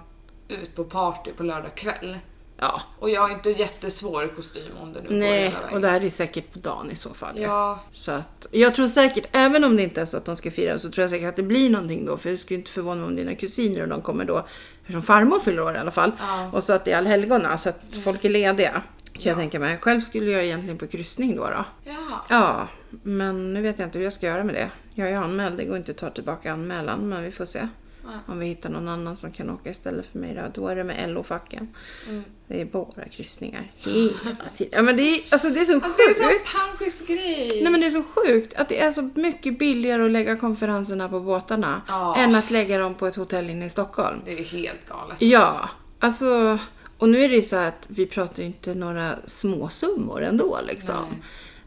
Speaker 2: ut på party på lördag kväll.
Speaker 1: Ja,
Speaker 2: Och jag har inte jättesvår kostym om det nu går
Speaker 1: nej.
Speaker 2: hela vägen.
Speaker 1: Och det här är säkert på dagen i så fall. ju.
Speaker 2: Ja,
Speaker 1: Så att, jag tror säkert, även om det inte är så att de ska fira, så tror jag säkert att det blir någonting då. För det skulle inte förvåna mig om dina kusiner och de kommer då, eftersom farmor fyller år i alla fall.
Speaker 2: Ja. Mm.
Speaker 1: Och så att det är allhelgona, så att folk är lediga. Kan jag tänka mig. Själv skulle jag egentligen på kryssning då. då.
Speaker 2: ja.
Speaker 1: Ja, men nu vet jag inte hur jag ska göra med det. Jag är ju anmäld, det går inte att ta tillbaka anmälan, men vi får se.
Speaker 2: Ja.
Speaker 1: Om vi hittar någon annan som kan åka istället för mig då, då är det med LO-facken.
Speaker 2: Mm.
Speaker 1: Det är bara kryssningar hela tiden. Ja, men det, är, alltså, det är så
Speaker 2: Alltså, det är en
Speaker 1: sjukt.
Speaker 2: sån panschis grej.
Speaker 1: Nej men det är så sjukt att det är så mycket billigare att lägga konferenserna på båtarna
Speaker 2: Ja.
Speaker 1: än att lägga dem på ett hotell inne i Stockholm.
Speaker 2: Det är helt galet.
Speaker 1: Ja, alltså och nu är det ju så här att vi pratar ju inte några småsummor ändå liksom.
Speaker 2: Nej.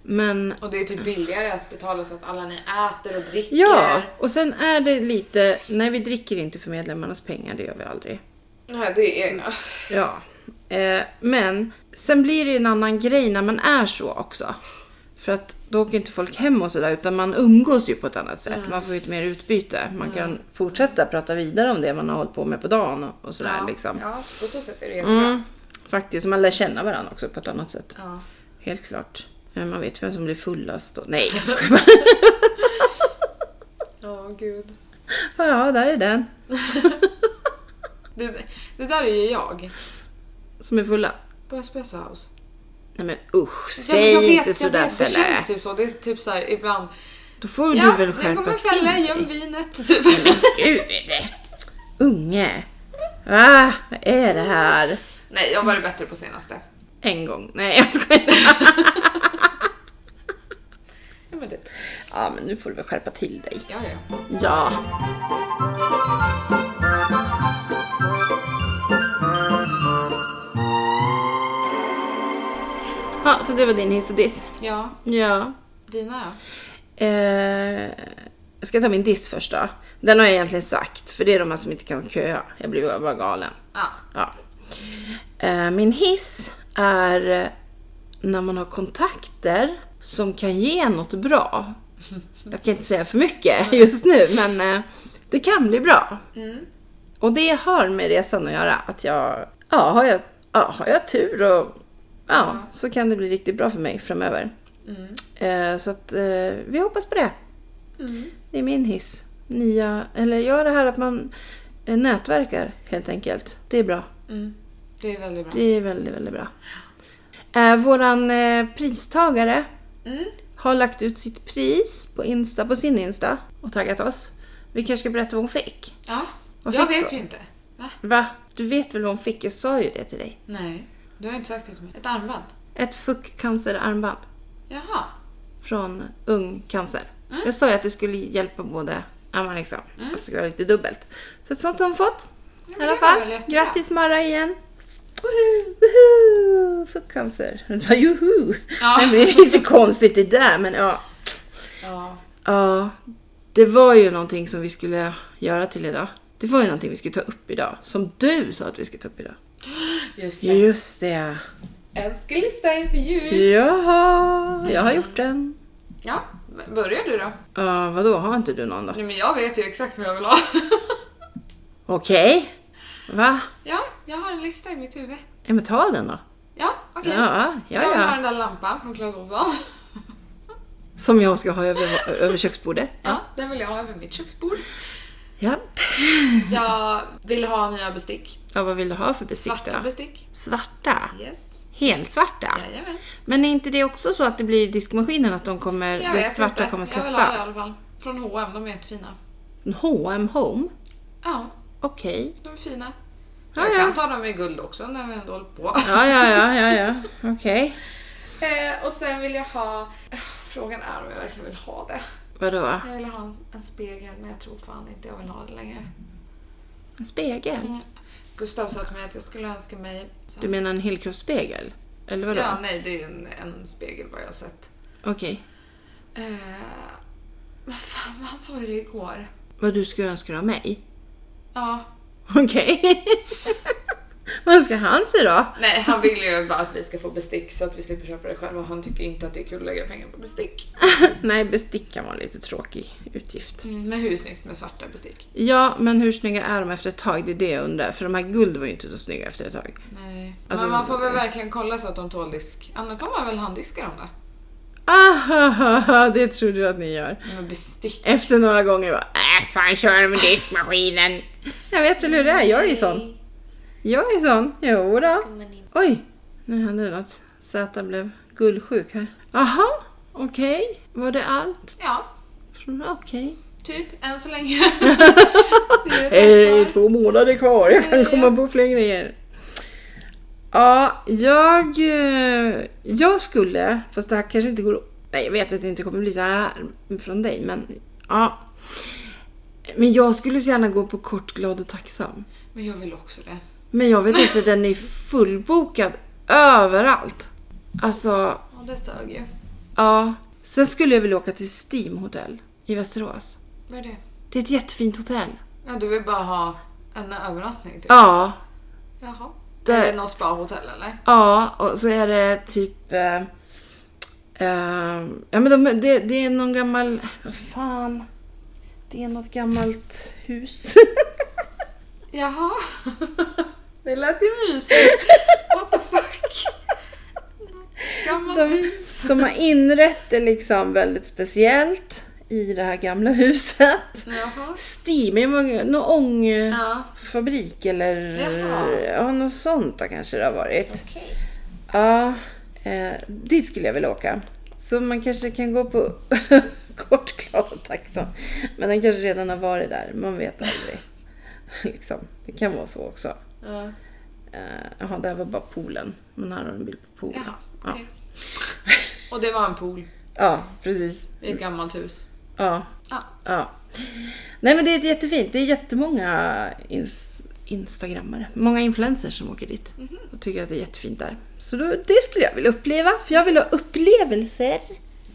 Speaker 1: Men
Speaker 2: Och det är typ billigare att betala så att alla ni äter och dricker.
Speaker 1: ja, och sen är det lite, nej vi dricker inte för medlemmarnas pengar, det gör vi aldrig.
Speaker 2: Nej, det är
Speaker 1: Mm.
Speaker 2: egna.
Speaker 1: Ja. Eh, men sen blir det ju en annan grej när man är så också. För att då åker inte folk hem och sådär utan man umgås ju på ett annat
Speaker 2: Mm.
Speaker 1: sätt. Man får ju ett mer utbyte. Man kan fortsätta prata vidare om det man har hållit på med på dagen och- och sådär
Speaker 2: ja.
Speaker 1: liksom.
Speaker 2: Ja, på så sätt är det jättebra.
Speaker 1: Mm, faktiskt, man lär känna varandra också på ett annat sätt.
Speaker 2: Ja.
Speaker 1: Helt klart. Eh, Man vet vem som blir fullast och... Nej, jag skojar
Speaker 2: Ja, gud.
Speaker 1: bara. Ja, där är den.
Speaker 2: Det, det där är ju jag.
Speaker 1: Som är fullast.
Speaker 2: På Espresso House.
Speaker 1: Nej men usch,
Speaker 2: Ja, men
Speaker 1: säg inte sådär
Speaker 2: Det
Speaker 1: Felle.
Speaker 2: känns typ så. Det är typ så här ibland.
Speaker 1: Då får
Speaker 2: ja,
Speaker 1: du väl
Speaker 2: nu
Speaker 1: skärpa
Speaker 2: kommer
Speaker 1: till
Speaker 2: Felle,
Speaker 1: dig.
Speaker 2: göm vinet. Typ.
Speaker 1: Gud! Unge! Va? Vad är det här?
Speaker 2: Nej, jag har varit bättre på senaste.
Speaker 1: En gång. Nej, jag skojar.
Speaker 2: Ja, men typ.
Speaker 1: Ja, men nu får du väl skärpa till dig.
Speaker 2: Ja, ja.
Speaker 1: Ja. Ja, så det var din hiss och diss.
Speaker 2: Ja,
Speaker 1: Ja.
Speaker 2: dina
Speaker 1: Eh, jag ska ta min diss först då. Den har jag egentligen sagt, för det är de här som inte kan köa. Jag blir bara galen.
Speaker 2: då? Ja.
Speaker 1: Ja. Eh, Min hiss är eh, när man har kontakter som kan ge något bra. Jag kan inte säga för mycket just nu, men eh, det kan bli bra.
Speaker 2: Mm,
Speaker 1: Och det har med resan att göra. Att jag, ja, har jag, ja, har jag tur och ja, så kan det bli riktigt bra för mig framöver.
Speaker 2: mm,
Speaker 1: Eh, Så att eh, vi hoppas på det.
Speaker 2: mm,
Speaker 1: Det är min hiss. Nya, eller ja, det här att man eh, nätverkar helt enkelt. Det är bra.
Speaker 2: mm. Det är väldigt bra.
Speaker 1: Det är väldigt, väldigt bra. Eh, våran eh, pristagare
Speaker 2: Mm.
Speaker 1: har lagt ut sitt pris på, Insta, på sin Insta och taggat oss. Vi kanske ska berätta vad hon fick?
Speaker 2: Ja.
Speaker 1: Vad
Speaker 2: jag
Speaker 1: fick
Speaker 2: vet
Speaker 1: du?
Speaker 2: ju inte. Va?
Speaker 1: Va? Du vet väl vad hon fick? Jag sa ju det till dig.
Speaker 2: Nej, du har inte sagt det till mig. Ett armband.
Speaker 1: Ett fuckcancerarmband
Speaker 2: Jaha.
Speaker 1: från Ung Cancer.
Speaker 2: Mm.
Speaker 1: Jag sa ju att det skulle hjälpa både, ja men liksom, att det skulle vara lite dubbelt. Så ett sånt har hon fått.
Speaker 2: men
Speaker 1: I
Speaker 2: det
Speaker 1: alla
Speaker 2: var
Speaker 1: fall.
Speaker 2: väl jättebra.
Speaker 1: Grattis Mara igen.
Speaker 2: Woho!
Speaker 1: Woho! Fuckcancer. Juhu!
Speaker 2: Ja.
Speaker 1: Nej, men det är lite konstigt det där men ja.
Speaker 2: Ja.
Speaker 1: Ja, det var ju någonting som vi skulle göra till idag. Det var ju någonting vi skulle ta upp idag. Som du sa att vi skulle ta upp idag.
Speaker 2: Just det.
Speaker 1: Just det.
Speaker 2: Önskelista inför jul.
Speaker 1: Jaha, jag har gjort den.
Speaker 2: Ja, men börjar du då?
Speaker 1: Ja, vadå, har inte du någon då?
Speaker 2: Nej men jag vet ju exakt vad jag vill ha.
Speaker 1: Okej. Va?
Speaker 2: ja, jag har en lista i mitt huvud.
Speaker 1: Ja, men ta den då.
Speaker 2: Ja, okej.
Speaker 1: Ja, ja,
Speaker 2: Jag vill ha
Speaker 1: ja.
Speaker 2: den där lampan från Clas Ohlson.
Speaker 1: Som jag ska ha över, över köksbordet.
Speaker 2: Ja, den vill jag ha över mitt köksbord.
Speaker 1: Ja.
Speaker 2: Jag vill ha nya bestick.
Speaker 1: ja, vad vill du ha för besikt
Speaker 2: Svarta
Speaker 1: då?
Speaker 2: bestick.
Speaker 1: Svarta?
Speaker 2: Yes.
Speaker 1: Helsvarta?
Speaker 2: Jajamän.
Speaker 1: Men är inte det också så att det blir i diskmaskinen att de kommer,
Speaker 2: Jag
Speaker 1: det
Speaker 2: vet
Speaker 1: svarta
Speaker 2: inte.
Speaker 1: kommer
Speaker 2: Jag vill ha det i
Speaker 1: släppa?
Speaker 2: alla fall. Från H&M, de är jättefina.
Speaker 1: H&M Home?
Speaker 2: Ja,
Speaker 1: Okej.
Speaker 2: de är fina.
Speaker 1: Ja,
Speaker 2: jag
Speaker 1: ja.
Speaker 2: kan ta dem i guld också när vi ändå håller på.
Speaker 1: Ja, ja, ja, ja, ja. okej.
Speaker 2: Eh, och sen vill jag ha... Eh, Frågan är om jag verkligen vill ha det.
Speaker 1: Vadå?
Speaker 2: Jag vill ha en, en spegel men jag tror fan inte jag vill ha det längre.
Speaker 1: En spegel?
Speaker 2: Mm. Gustav sa till mig att jag skulle önska mig... Så.
Speaker 1: Du menar en helkroppsspegel? Eller vadå?
Speaker 2: Ja, nej det är en, en spegel vad jag har sett.
Speaker 1: Okej.
Speaker 2: Eh, men fan, vad han sa ju det igår.
Speaker 1: Vad du skulle önska dig av mig?
Speaker 2: Ja.
Speaker 1: Okej. Vad ska han se då?
Speaker 2: Nej, han vill ju bara att vi ska få bestick så att vi slipper köpa det själva. Han tycker inte att det är kul att lägga pengar på bestick.
Speaker 1: Nej, bestick kan vara en lite tråkig utgift.
Speaker 2: Mm, men hur snyggt med svarta bestick?
Speaker 1: Ja, men hur snygga är de efter ett tag? Det är det jag undrar. För de här guld var ju inte så snygga efter ett tag.
Speaker 2: Nej.
Speaker 1: Alltså-
Speaker 2: men man får väl verkligen kolla så att de tål disk. Annars får man väl handdiska dem då.
Speaker 1: Ah, det tror du att ni gör.
Speaker 2: Men bestick.
Speaker 1: Efter några gånger bara äh, fan kör med diskmaskinen. Jag vet väl hur det är, jag är ju sån. Jag är sån. Jo då. Oj, nu hände det något. Zäta blev gullsjuk här. Aha, okej. Var det allt?
Speaker 2: Ja,
Speaker 1: Från- Okej.
Speaker 2: typ. Än så länge.
Speaker 1: Eh, två månader kvar, jag kan
Speaker 2: Ja.
Speaker 1: komma på fler grejer. Ja, jag, eh, jag skulle, fast det här kanske inte går Nej, jag vet att det inte kommer bli så här från dig, men ja. Men jag skulle så gärna gå på kort, glad och tacksam.
Speaker 2: Men jag vill också det.
Speaker 1: Men jag vet inte, den är fullbokad överallt. Alltså,
Speaker 2: Ja, det sög ju.
Speaker 1: ja. Sen skulle jag vilja åka till Steam Hotel i Västerås.
Speaker 2: Vad är det?
Speaker 1: Det är ett jättefint hotell.
Speaker 2: Ja, du vill bara ha en övernattning typ?
Speaker 1: Ja,
Speaker 2: Jaha.
Speaker 1: Det-
Speaker 2: Är det något spahotell eller?
Speaker 1: Ja, och så är det typ... Eh, eh, ja, men de, det, det är någon gammal... Vad fan? Det är något gammalt hus.
Speaker 2: Jaha. Det lät ju mysigt. What the fuck? Gammalt
Speaker 1: De,
Speaker 2: hus.
Speaker 1: de har inrett det liksom väldigt speciellt i det här gamla huset.
Speaker 2: Jaha.
Speaker 1: Steam, är många- någon ångfabrik
Speaker 2: Ja.
Speaker 1: eller
Speaker 2: Jaha.
Speaker 1: ja, något sånt där kanske det har varit.
Speaker 2: Okej.
Speaker 1: Ja, eh, dit skulle jag vilja åka. Så man kanske kan gå på kort, glad och tacksam. Men den kanske redan har varit där, man vet aldrig. liksom. Det kan vara så också.
Speaker 2: Ja.
Speaker 1: Eh, Jaha, det här var bara poolen. Men här har du en bild på poolen.
Speaker 2: Jaha.
Speaker 1: Ja.
Speaker 2: Okej. Och det var en pool
Speaker 1: ja, precis.
Speaker 2: i ett gammalt hus.
Speaker 1: Ja.
Speaker 2: Ja.
Speaker 1: ja. Nej men det är ett jättefint. Det är jättemånga ins- instagrammare. Många influencers som åker dit.
Speaker 2: Mhm.
Speaker 1: Och tycker att det är jättefint där. Så då, det skulle jag vilja uppleva. För jag vill ha upplevelser.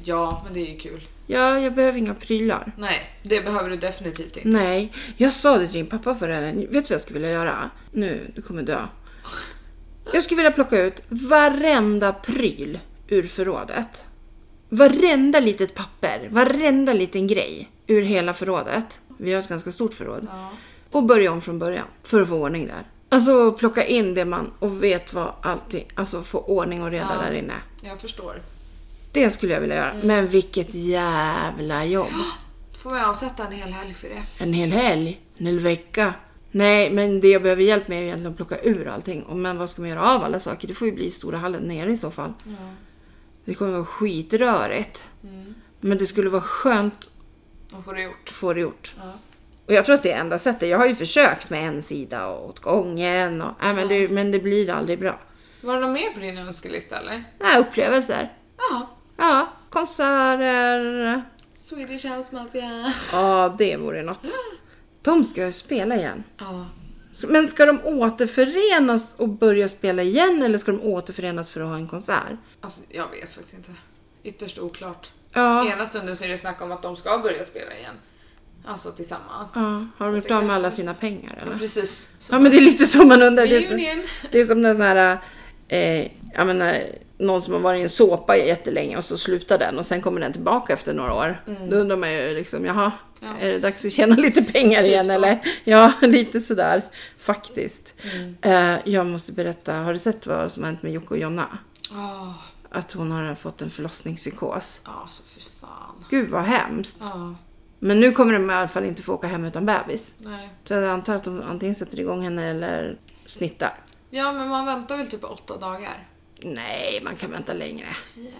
Speaker 2: Ja, men det är ju kul.
Speaker 1: Ja, jag behöver inga prylar.
Speaker 2: Nej, det behöver du definitivt inte.
Speaker 1: Nej, jag sa det till din pappa förra helgen. Vet du vad jag skulle vilja göra? Nu, du kommer dö. Jag skulle vilja plocka ut varenda pryl ur förrådet. Varenda litet papper, varenda liten grej ur hela förrådet. Vi har ett ganska stort förråd.
Speaker 2: Ja.
Speaker 1: Och börja om från början för att få ordning där. Alltså plocka in det man och vet vad allting, alltså få ordning och reda
Speaker 2: Ja.
Speaker 1: där inne.
Speaker 2: Jag förstår.
Speaker 1: Det skulle jag vilja göra. Men vilket jävla jobb.
Speaker 2: Då får vi avsätta en hel helg för det.
Speaker 1: En hel helg, en hel vecka, Nej, men det jag behöver hjälp med är egentligen att plocka ur allting. Och Men vad ska man göra av alla saker? Det får ju bli i stora hallen nere i så fall.
Speaker 2: Ja.
Speaker 1: Det kommer vara skitrörigt.
Speaker 2: Mm.
Speaker 1: Men det skulle vara skönt
Speaker 2: Och får det gjort.
Speaker 1: att få det gjort.
Speaker 2: Ja.
Speaker 1: Och jag tror att det är enda sättet. Jag har ju försökt med en sida och åt gången. Och, nej, men, det, men det blir aldrig bra.
Speaker 2: Var det något mer på din önskelista eller?
Speaker 1: Nej, upplevelser.
Speaker 2: Ja.
Speaker 1: Ja, konserter.
Speaker 2: Swedish House Mafia.
Speaker 1: Ja, det vore något. De ska ju spela igen.
Speaker 2: Ja.
Speaker 1: Men ska de återförenas och börja spela igen eller ska de återförenas för att ha en konsert?
Speaker 2: Alltså jag vet faktiskt inte. Ytterst oklart.
Speaker 1: Ja,
Speaker 2: Ena stunden så är det snack om att de ska börja spela igen. Alltså tillsammans.
Speaker 1: ja. har de gjort av med alla sina pengar
Speaker 2: Ja,
Speaker 1: eller?
Speaker 2: precis. Så
Speaker 1: Ja men det är lite så man undrar. Det är, så,
Speaker 2: reunion.
Speaker 1: det är som den så här, eh, jag menar, någon som har varit i en såpa jättelänge och så slutar den och sen kommer den tillbaka efter några år. Då undrar man ju liksom, jaha,
Speaker 2: Mm. Ja.
Speaker 1: är det dags att tjäna lite pengar
Speaker 2: Typ
Speaker 1: igen
Speaker 2: så.
Speaker 1: eller? Ja, lite sådär faktiskt.
Speaker 2: Mm.
Speaker 1: Eh, jag måste berätta, har du sett vad som har hänt med Jocke och Jonna?
Speaker 2: Åh,
Speaker 1: Att hon har fått en förlossningspsykos.
Speaker 2: alltså för fan.
Speaker 1: Gud vad hemskt.
Speaker 2: Ja,
Speaker 1: Men nu kommer de i alla fall inte få åka hem utan bebis.
Speaker 2: nej.
Speaker 1: Så jag antar att de antingen sätter igång henne eller snittar.
Speaker 2: Ja, men man väntar väl typ åtta dagar?
Speaker 1: Nej, man kan vänta längre.
Speaker 2: Tio?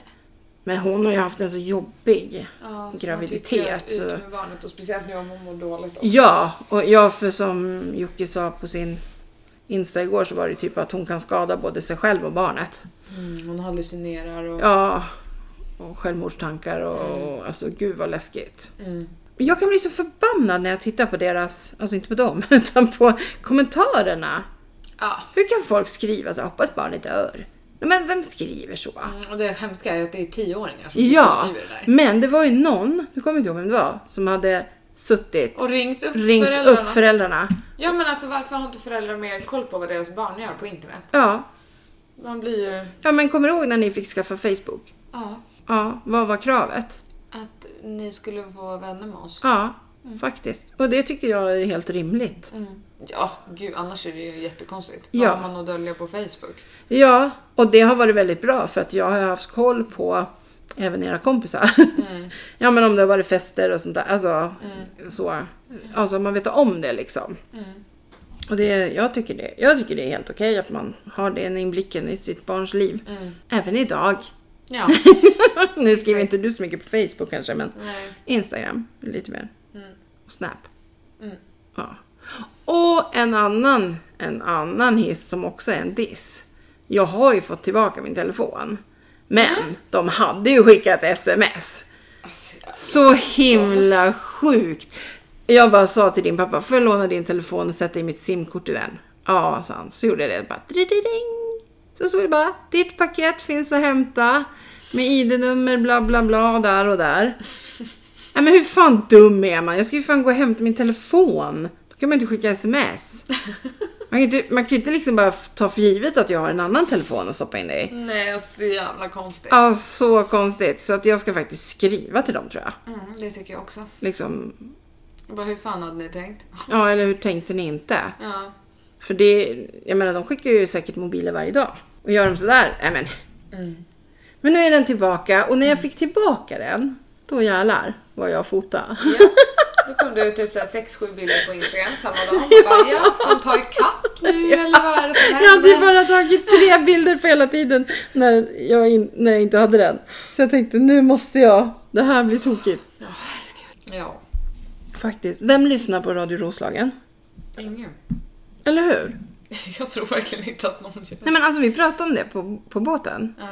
Speaker 1: Men hon har ju haft en så jobbig.
Speaker 2: Ja, så man
Speaker 1: Graviditet,
Speaker 2: tittar Ut
Speaker 1: så-
Speaker 2: med barnet och speciellt nu om hon mår dåligt. Också.
Speaker 1: Ja, och ja, för som Jocke sa på sin Insta igår så var det typ att hon kan skada både sig själv och barnet.
Speaker 2: Mm, hon hallucinerar och...
Speaker 1: Ja, och självmordstankar och alltså gud vad läskigt.
Speaker 2: Mm.
Speaker 1: Men Jag kan bli så förbannad när jag tittar på deras, alltså inte på dem, utan på kommentarerna.
Speaker 2: Ja.
Speaker 1: Hur kan folk skriva så här, hoppas barnet dör? Nej, Men vem skriver så?
Speaker 2: Mm, och det hemska är att det är tioåringar som sitter och
Speaker 1: Ja,
Speaker 2: skriver det där.
Speaker 1: men det var ju någon, nu kommer jag inte ihåg vem det var, som hade suttit,
Speaker 2: Och ringt upp
Speaker 1: ringt
Speaker 2: föräldrarna.
Speaker 1: upp föräldrarna.
Speaker 2: Ja men alltså varför har inte föräldrar mer koll på vad deras barn gör på internet?
Speaker 1: Ja.
Speaker 2: Man blir ju...
Speaker 1: ja, men kommer du ihåg när ni fick skaffa Facebook?
Speaker 2: Ja.
Speaker 1: Ja, vad var kravet?
Speaker 2: Att ni skulle vara vänner med oss.
Speaker 1: Ja, faktiskt. Och det tycker jag är helt rimligt.
Speaker 2: Mm. Ja, gud annars är det ju jättekonstigt.
Speaker 1: Ja.
Speaker 2: Vad har man att dölja på Facebook?
Speaker 1: Ja, och det har varit väldigt bra för att jag har haft koll på även era kompisar. ja, men om det har varit fester och sånt där. Alltså, så. Alltså, man vet om det liksom. Och det, jag, tycker det, jag tycker det är helt okej att man har den inblicken i sitt barns liv. Även idag.
Speaker 2: Ja.
Speaker 1: nu skriver inte du så mycket på Facebook kanske, men
Speaker 2: Nej.
Speaker 1: Instagram lite mer. Och Snap.
Speaker 2: Mm.
Speaker 1: Ja. Och en annan, en annan hiss som också är en diss. Jag har ju fått tillbaka min telefon. Men
Speaker 2: Mm.
Speaker 1: de hade ju skickat sms.
Speaker 2: Alltså,
Speaker 1: Så himla sjukt. Jag bara sa till din pappa, får jag låna din telefon och sätta i mitt simkort i den? Ja, sa han. Så gjorde jag det. Bara, "Drididing." så stod det bara, ditt paket finns att hämta med ID-nummer bla bla bla där och där. Nej men hur fan dum är man? Jag ska ju fan gå och hämta min telefon. Då kan man inte skicka sms. Man kan ju inte, man kan ju inte liksom bara f- ta för givet att jag har en annan telefon att stoppa in det i.
Speaker 2: Nej, alltså, så jävla konstigt.
Speaker 1: Ja, så konstigt. Så att jag ska faktiskt skriva till dem tror jag.
Speaker 2: Mm, det tycker jag också.
Speaker 1: Liksom,
Speaker 2: Jag bara, hur fan hade ni tänkt?
Speaker 1: Ja, eller hur tänkte ni inte?
Speaker 2: Ja.
Speaker 1: För det, jag menar de skickar ju säkert mobiler varje dag. Och gör de sådär, nej men. Men nu är den tillbaka och när jag fick tillbaka den, då jävlar vad jag fotade.
Speaker 2: ja. Då kom det ut typ 6-7 bilder på Instagram samma dag. Man bara, ja, ska de ta ikapp nu eller vad är det som
Speaker 1: Jag hade ju
Speaker 2: händer?
Speaker 1: bara tagit tre bilder på hela tiden när jag, in, när jag inte hade den. Så jag tänkte nu måste jag, det här blir tokigt.
Speaker 2: Ja, herregud. Ja.
Speaker 1: Faktiskt. Vem lyssnar på Radio Roslagen?
Speaker 2: Ingen.
Speaker 1: Eller hur?
Speaker 2: Jag tror verkligen inte att någon gör det.
Speaker 1: Nej men alltså vi pratade om det på, på båten.
Speaker 2: Ja.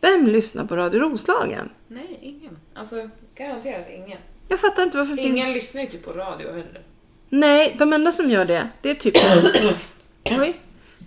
Speaker 1: Vem lyssnar på Radio Roslagen?
Speaker 2: Nej, ingen. Alltså, garanterat ingen.
Speaker 1: Jag fattar inte varför finns-
Speaker 2: Ingen lyssnar ju typ på radio heller.
Speaker 1: Nej, de enda som gör det, det är typ Oj.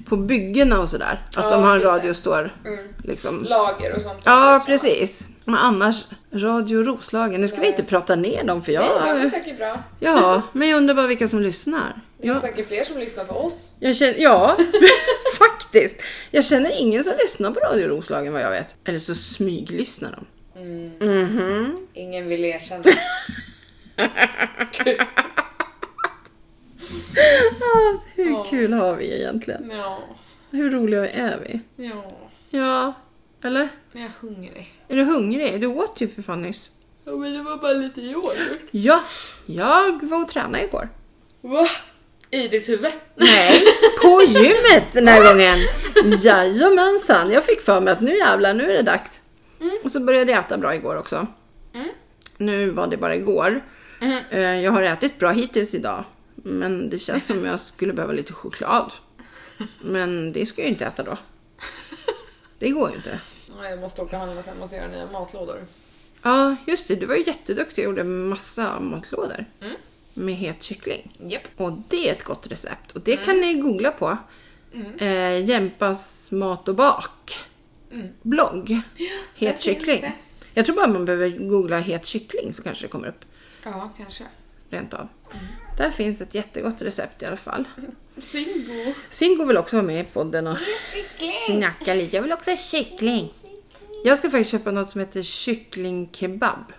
Speaker 1: på byggena och sådär. Att
Speaker 2: Ja,
Speaker 1: de har en
Speaker 2: just det.
Speaker 1: radio står
Speaker 2: Mm.
Speaker 1: liksom.
Speaker 2: Lager och sånt.
Speaker 1: Ja,
Speaker 2: också.
Speaker 1: precis. Men annars, Radio Roslagen. Nu ska vi inte prata ner dem för
Speaker 2: Nej, det är
Speaker 1: jag...
Speaker 2: säkert bra.
Speaker 1: Ja, men jag undrar bara vilka som lyssnar.
Speaker 2: Det är
Speaker 1: Jag,
Speaker 2: säkert fler som lyssnar på oss.
Speaker 1: jag känner, ja, faktiskt. Jag känner ingen som lyssnar på Radio Roslagen vad jag vet. Eller så smyglyssnar de.
Speaker 2: Mm. Ingen vill erkänna.
Speaker 1: Ah, hur
Speaker 2: Ja.
Speaker 1: kul har vi egentligen?
Speaker 2: ja,
Speaker 1: Hur roliga är vi?
Speaker 2: ja.
Speaker 1: Ja, eller?
Speaker 2: Men jag är hungrig.
Speaker 1: Är du hungrig? Du åt ju för fan nyss.
Speaker 2: Ja men det var bara lite yoghurt.
Speaker 1: Ja, jag var och tränade igår.
Speaker 2: Va? I ditt huvud?
Speaker 1: Nej, på gymmet den här gången. Jajamensan, jag fick för mig att nu jävlar, nu är det dags. Och så började jag äta bra igår också. Nu var det bara igår.
Speaker 2: Mm.
Speaker 1: Eh, Jag har ätit bra hittills idag. Men det känns som jag skulle behöva lite choklad. Men det ska jag ju inte äta då. Det går ju inte.
Speaker 2: Nej, jag måste åka och handla sen, måste göra nya matlådor.
Speaker 1: Ja, just det. Du var ju jätteduktig och gjorde massa matlådor.
Speaker 2: Mm.
Speaker 1: Med het kyckling.
Speaker 2: Japp.
Speaker 1: Och det är ett gott recept. Och det kan ni googla på. Eh, Jämpas mat och bak. Blogg.
Speaker 2: där
Speaker 1: Het
Speaker 2: finns
Speaker 1: kyckling.
Speaker 2: det.
Speaker 1: Jag tror bara man behöver googla het kyckling så kanske det kommer upp.
Speaker 2: Ja, kanske.
Speaker 1: Rent av. Där finns ett jättegott recept i alla fall.
Speaker 2: Bingo!
Speaker 1: Singo vill också vara med i podden och snacka lite. Jag vill också ha kyckling. Jag ska faktiskt köpa något som heter kycklingkebab.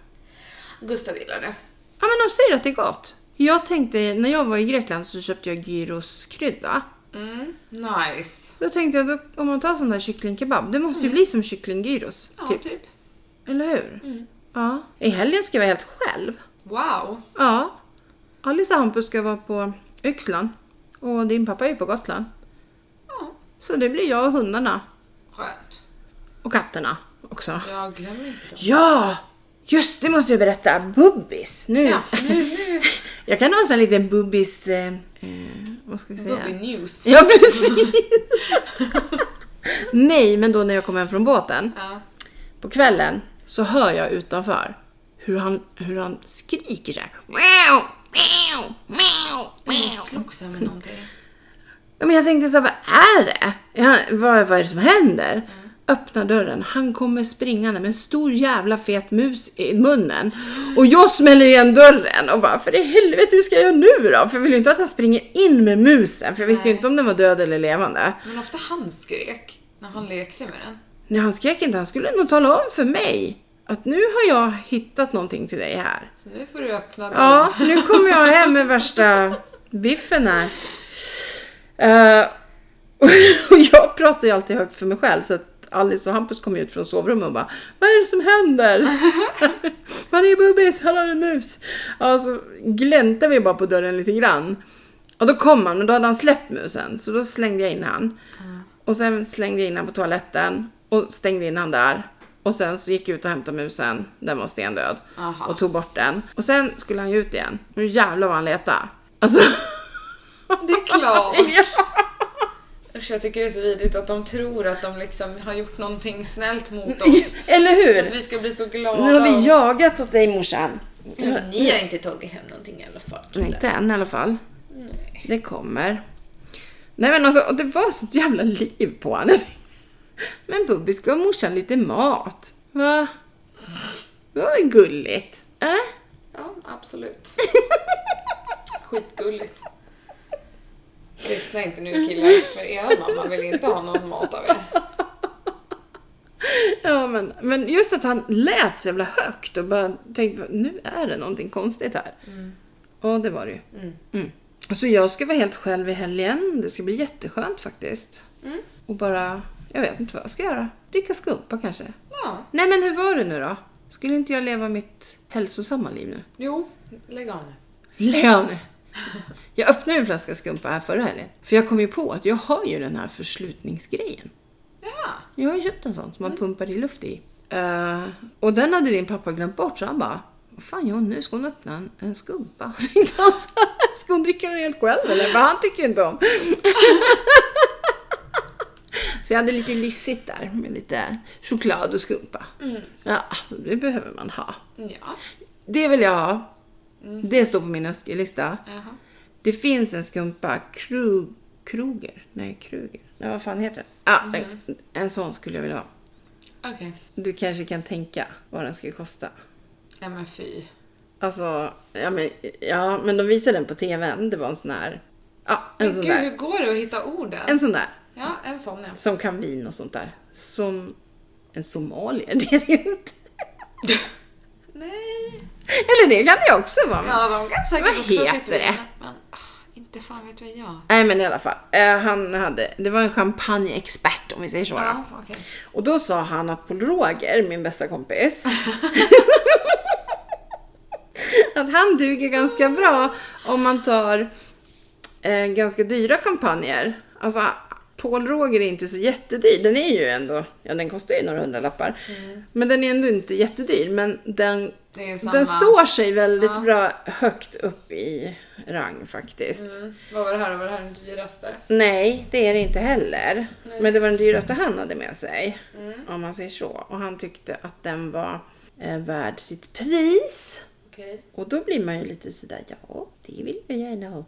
Speaker 2: Gustav gillar det.
Speaker 1: Ja men de säger att det är gott. Jag tänkte, när jag var i Grekland så köpte jag gyroskrydda.
Speaker 2: Mm, nice.
Speaker 1: Då tänkte jag, då, om man tar sån där kycklingkebab, det måste ju bli som kycklinggyros.
Speaker 2: Mm. Ja,
Speaker 1: typ.
Speaker 2: typ. Mm.
Speaker 1: Eller hur? Ja. I helgen ska jag vara helt själv.
Speaker 2: Wow.
Speaker 1: Ja. Alice och Hampus ska vara på Yxlan. Och din pappa är ju på Gotland.
Speaker 2: Ja,
Speaker 1: Så det blir jag och hundarna.
Speaker 2: skönt.
Speaker 1: Och katterna också.
Speaker 2: Jag glömmer inte dem.
Speaker 1: Ja! Just det måste jag berätta. Bubbis. Nu.
Speaker 2: Ja, nu, nu.
Speaker 1: Jag kan ha en sån liten bubbis... Eh, eh, vad ska vi säga?
Speaker 2: Bobby News.
Speaker 1: Ja, precis! Nej, men då när jag kom hem från båten
Speaker 2: Ja.
Speaker 1: på kvällen så hör jag utanför hur han, hur han skriker så här. Meow, meow, meow, meow.
Speaker 2: Jag slogs här med någonting.
Speaker 1: Ja, men jag tänkte så här, vad är det? Är han- Vad, vad är det som händer? Öppna dörren, han kommer springande med en stor jävla fet mus i munnen. Och jag smäller igen dörren och bara, för i helvete hur ska jag göra nu då? För jag vill ju inte att han springer in med musen, för jag visste ju
Speaker 2: Nej.
Speaker 1: inte om den var död eller levande.
Speaker 2: Men ofta han skrek när han lekte med den.
Speaker 1: Nej, han skrek inte, han skulle nog tala om för mig att nu har jag hittat någonting till dig här.
Speaker 2: Så nu får du öppna dörren.
Speaker 1: Ja, nu kommer jag hem med värsta biffen här. Eh, och jag pratar ju alltid högt för mig själv så att Alice och Hampus kom ut från sovrummet och bara Vad är det som händer? Var är Bubbis? Han har en mus. Ja, så gläntade vi bara på dörren lite grann. Och då kom han, men då hade han släppt musen. Så då slängde jag in han. Och sen slängde jag in han på toaletten och stängde in han där. Och sen så gick jag ut och hämtade musen. Den var stendöd.
Speaker 2: Aha.
Speaker 1: Och tog bort den. Och sen skulle han ju ut igen. Nu jävlar vad han letade. Alltså...
Speaker 2: Det är klart.
Speaker 1: Ja.
Speaker 2: Usch, jag tycker det är så vidrigt att de tror att de liksom har gjort någonting snällt mot oss.
Speaker 1: Eller
Speaker 2: Att
Speaker 1: hur?
Speaker 2: vi ska bli så glada.
Speaker 1: Nu har Mm. vi
Speaker 2: och-
Speaker 1: jagat åt dig morsan.
Speaker 2: Ni har inte tagit hem någonting i alla fall.
Speaker 1: Nej, inte än i alla fall. Det kommer. Nej men alltså, och det var sånt jävla liv på honom. Men Bubbis gav morsan lite mat. Va? Det var väl gulligt? Äh?
Speaker 2: Ja, absolut. Skitgulligt. Lyssna inte nu killar, för er mamma vill inte ha någon mat av er.
Speaker 1: Ja men, men just att han lät så jävla högt och bara tänkte nu är det någonting konstigt här. Och det var det ju. Mm. Så jag ska vara helt själv i helgen. Det ska bli jätteskönt faktiskt. Och bara, jag vet inte vad jag ska göra. Dricka skumpa kanske.
Speaker 2: Ja,
Speaker 1: Nej men hur var det nu då? Skulle inte jag leva mitt hälsosamma liv nu?
Speaker 2: jo, lägg av nu.
Speaker 1: Lägg av nu! Jag öppnade ju en flaska skumpa här förra helgen. För jag kom ju på att jag har ju den här förslutningsgrejen.
Speaker 2: Ja,
Speaker 1: Jag har ju köpt en sån som man pumpar i luft i. Eh, och den hade din pappa glömt bort så han bara Vad fan gör hon nu? Ska hon öppna en, en skumpa? Tänkte han så här, Ska hon dricka den helt själv eller? För han tycker ju inte om. så jag hade lite lyssigt där med lite choklad och skumpa. Ja, det behöver man ha.
Speaker 2: ja,
Speaker 1: Det vill jag ha. Det står på min önskelista.
Speaker 2: jaha.
Speaker 1: Det finns en skumpa, Krug, Kruger, nej Kruger, nej vad fan heter den? Ah, en, en sån skulle jag vilja ha.
Speaker 2: Okej.
Speaker 1: Du kanske kan tänka vad den ska kosta.
Speaker 2: Nej men fy.
Speaker 1: Alltså, ja men, ja, men de visade den på tvn, det var en sån här, ja en
Speaker 2: Men
Speaker 1: sån
Speaker 2: gud,
Speaker 1: där,
Speaker 2: hur går det att hitta orden?
Speaker 1: en sån där,
Speaker 2: Ja, en sån ja.
Speaker 1: som kan vin och sånt där. Som en somalier, det är det inte.
Speaker 2: Nej.
Speaker 1: Eller det kan det också vara.
Speaker 2: Ja, de kan säkert
Speaker 1: Vad
Speaker 2: också sitta
Speaker 1: heter det?
Speaker 2: inne, Men ah, inte fan vet väl jag.
Speaker 1: Nej men i alla fall, eh, han hade, det var en champagneexpert om vi säger så. då.
Speaker 2: Ja, okej.
Speaker 1: Och då sa han att Paul Roger, min bästa kompis, att han duger ganska bra om man tar eh, ganska dyra kampanjer. Alltså, Paul Roger är inte så jättedyr. Den är ju ändå, ja den kostar ju några hundralappar. Men den är ändå inte jättedyr. Men den,
Speaker 2: Mm. Det är samma.
Speaker 1: den står sig väldigt
Speaker 2: Ja.
Speaker 1: bra högt upp i rang faktiskt.
Speaker 2: Mm. Vad var det här? Var det här den dyraste?
Speaker 1: Nej, det är det inte heller. Men det var den dyraste han hade med sig. Om man säger så. Och han tyckte att den var eh, värd sitt pris.
Speaker 2: Okej.
Speaker 1: Och då blir man ju lite sådär, ja, det vill jag gärna ha.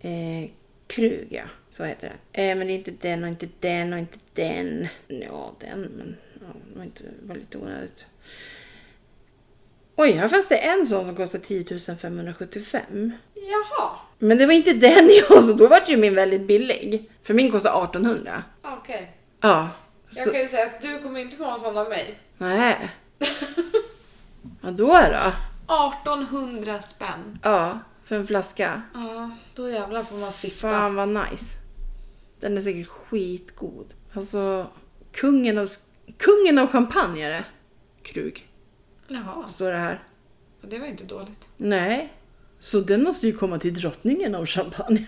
Speaker 1: Eh, Kruga, så heter den. Eh, men det är inte den och inte den och inte den. Ja, den, men ja, det var, inte, det var lite onödigt. Oj, här fanns det en sån som kostade 10 575.
Speaker 2: Jaha.
Speaker 1: Men det var inte den jag så då var ju min väldigt billig. För min kostade 1800.
Speaker 2: Okej.
Speaker 1: Ja.
Speaker 2: Jag
Speaker 1: Så,
Speaker 2: kan ju säga att du kommer inte få en sån av mig.
Speaker 1: nej. Vadå då?
Speaker 2: 1800 spänn.
Speaker 1: Ja, för en flaska.
Speaker 2: Ja, då jävlar får man sippa.
Speaker 1: Fan vad nice. Den är säkert skitgod. Alltså, kungen av, kungen av champagne är det. Krug,
Speaker 2: Jaha,
Speaker 1: står det här.
Speaker 2: och det var ju inte dåligt.
Speaker 1: Nej. Så den måste ju komma till drottningen av champagne.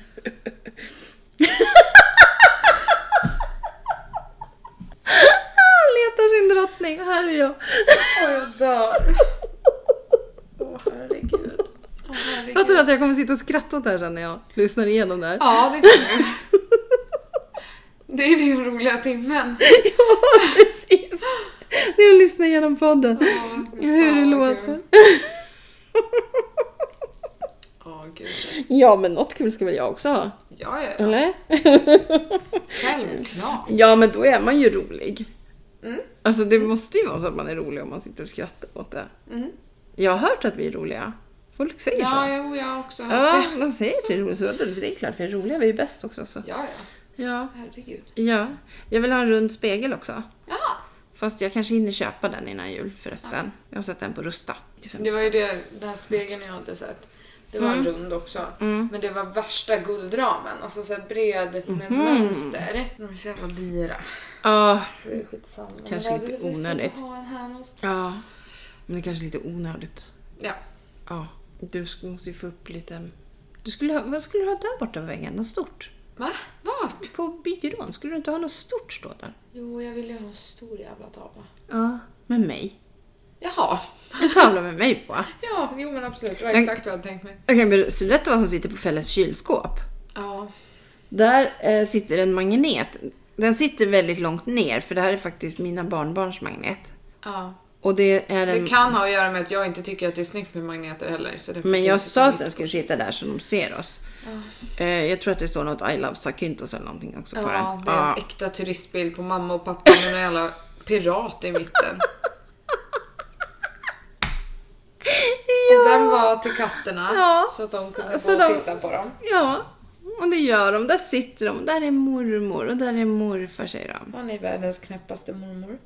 Speaker 1: Han letar sin drottning, här är jag.
Speaker 2: Åh, jag dör. Åh, herregud. Åh, herregud.
Speaker 1: Fattar du att jag kommer sitta och skratta åt det här sen när jag lyssnar igenom det här?
Speaker 2: Ja, det kommer Det är din roliga timmen.
Speaker 1: Ja, precis. När jag lyssnar igenom podden.
Speaker 2: Ja,
Speaker 1: Hur det
Speaker 2: ja,
Speaker 1: låter.
Speaker 2: kul. Åh, gud.
Speaker 1: Ja, men något kul ska väl jag också ha?
Speaker 2: Ja, ja, ja.
Speaker 1: Eller?
Speaker 2: Självklart.
Speaker 1: Ja, men då är man ju rolig.
Speaker 2: Mm.
Speaker 1: Alltså det måste ju vara så att man är rolig om man sitter och skrattar åt det.
Speaker 2: Mm.
Speaker 1: Jag har hört att vi är roliga. Folk säger
Speaker 2: Ja,
Speaker 1: så.
Speaker 2: jo, jag har också hört
Speaker 1: Ja,
Speaker 2: det.
Speaker 1: de säger att vi är roliga. Så det är klart, vi är roliga. Vi är bäst också. Så.
Speaker 2: Ja, ja.
Speaker 1: Ja.
Speaker 2: Herregud.
Speaker 1: ja. Jag vill ha en rund spegel också.
Speaker 2: Ja.
Speaker 1: Fast jag kanske hinner köpa den innan jul förresten. Jag har sett den på Rusta.
Speaker 2: Det var ju det, den här spegeln jag hade sett. Det var en rund också. Men det var värsta guldramen. Alltså så här bred med mönster. De är så jävla dyra.
Speaker 1: Ja,
Speaker 2: Så det är skitsamma. Men
Speaker 1: Kanske
Speaker 2: det
Speaker 1: lite
Speaker 2: hade vi fått
Speaker 1: onödigt.
Speaker 2: ha en här någonstans.
Speaker 1: ja. Men det kanske är lite onödigt.
Speaker 2: Ja.
Speaker 1: Ja. Du sk- måste ju få upp lite... Du skulle ha... Vad skulle du ha där borta på väggen? Något stort?
Speaker 2: Va? Vart?
Speaker 1: På byrån? Skulle du inte ha något stort stå där?
Speaker 2: Jo, jag ville ju ha en stor jävla tavla.
Speaker 1: Ja. Med mig.
Speaker 2: Jaha.
Speaker 1: En tavla med mig på.
Speaker 2: Ja, jo men absolut. Det var
Speaker 1: Jag-
Speaker 2: exakt vad jag hade tänkt mig.
Speaker 1: Okej, men ser du detta vad som sitter på Felles kylskåp?
Speaker 2: Ja.
Speaker 1: Där eh, sitter en magnet. Den sitter väldigt långt ner för det här är faktiskt mina barnbarns magnet.
Speaker 2: ja.
Speaker 1: Och det är en...
Speaker 2: Det kan ha att göra med att jag inte tycker att det är snyggt med magneter heller. Så det
Speaker 1: Men
Speaker 2: fick
Speaker 1: jag
Speaker 2: inte
Speaker 1: sa
Speaker 2: ta
Speaker 1: att
Speaker 2: mitt
Speaker 1: den skulle
Speaker 2: kort.
Speaker 1: sitta där så de ser oss. Eh, jag tror att det står något I love Zakynthos eller någonting också på
Speaker 2: Ja,
Speaker 1: den.
Speaker 2: det är en äkta turistbild på mamma och pappa med en jävla pirat i mitten. Den
Speaker 1: ja.
Speaker 2: var till katterna
Speaker 1: Ja.
Speaker 2: så att de kunde
Speaker 1: Så
Speaker 2: gå
Speaker 1: de-
Speaker 2: och titta på dem.
Speaker 1: ja, och det gör de. Där sitter de. Där är mormor och där är morfar säger de.
Speaker 2: Hon är världens knäppaste mormor.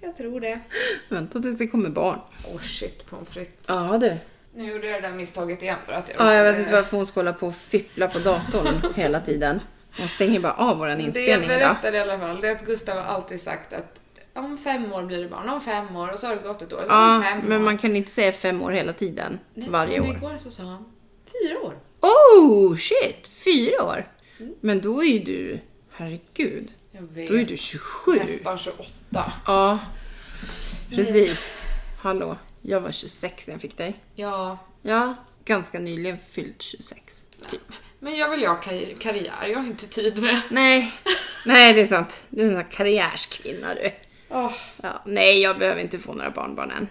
Speaker 2: jag tror det.
Speaker 1: Vänta tills det kommer barn.
Speaker 2: Åh oh, shit pommes frites.
Speaker 1: Ja du.
Speaker 2: Nu gjorde jag det där misstaget igen bara att jag
Speaker 1: Ja, jag vet
Speaker 2: råkade-
Speaker 1: inte varför hon ska hålla på och fippla på datorn hela tiden. Hon stänger bara av våran
Speaker 2: Det jag
Speaker 1: inspelning idag.
Speaker 2: berättade i alla fall, det är att Gustav har alltid sagt att om fem år blir det barn, om fem år och så har det gått ett år, så
Speaker 1: Ja,
Speaker 2: om fem år.
Speaker 1: men man kan inte säga fem år hela tiden.
Speaker 2: Nej,
Speaker 1: Varje
Speaker 2: men
Speaker 1: år.
Speaker 2: Igår så sa han fyra år.
Speaker 1: Oh shit! Fyra år?
Speaker 2: Mm.
Speaker 1: Men då är ju du, herregud,
Speaker 2: Jag vet.
Speaker 1: då är du 27.
Speaker 2: Nästan 28.
Speaker 1: Ja, precis. Hallå, jag var 26 när jag fick dig.
Speaker 2: Ja,
Speaker 1: Ja, ganska nyligen fyllt 26. Typ.
Speaker 2: men jag vill ju ha kar- karriär, jag har inte tid med det.
Speaker 1: Nej, nej det är sant. Du är en sån här karriärskvinna du.
Speaker 2: Åh,
Speaker 1: Ja, nej, jag behöver inte få några barnbarn än.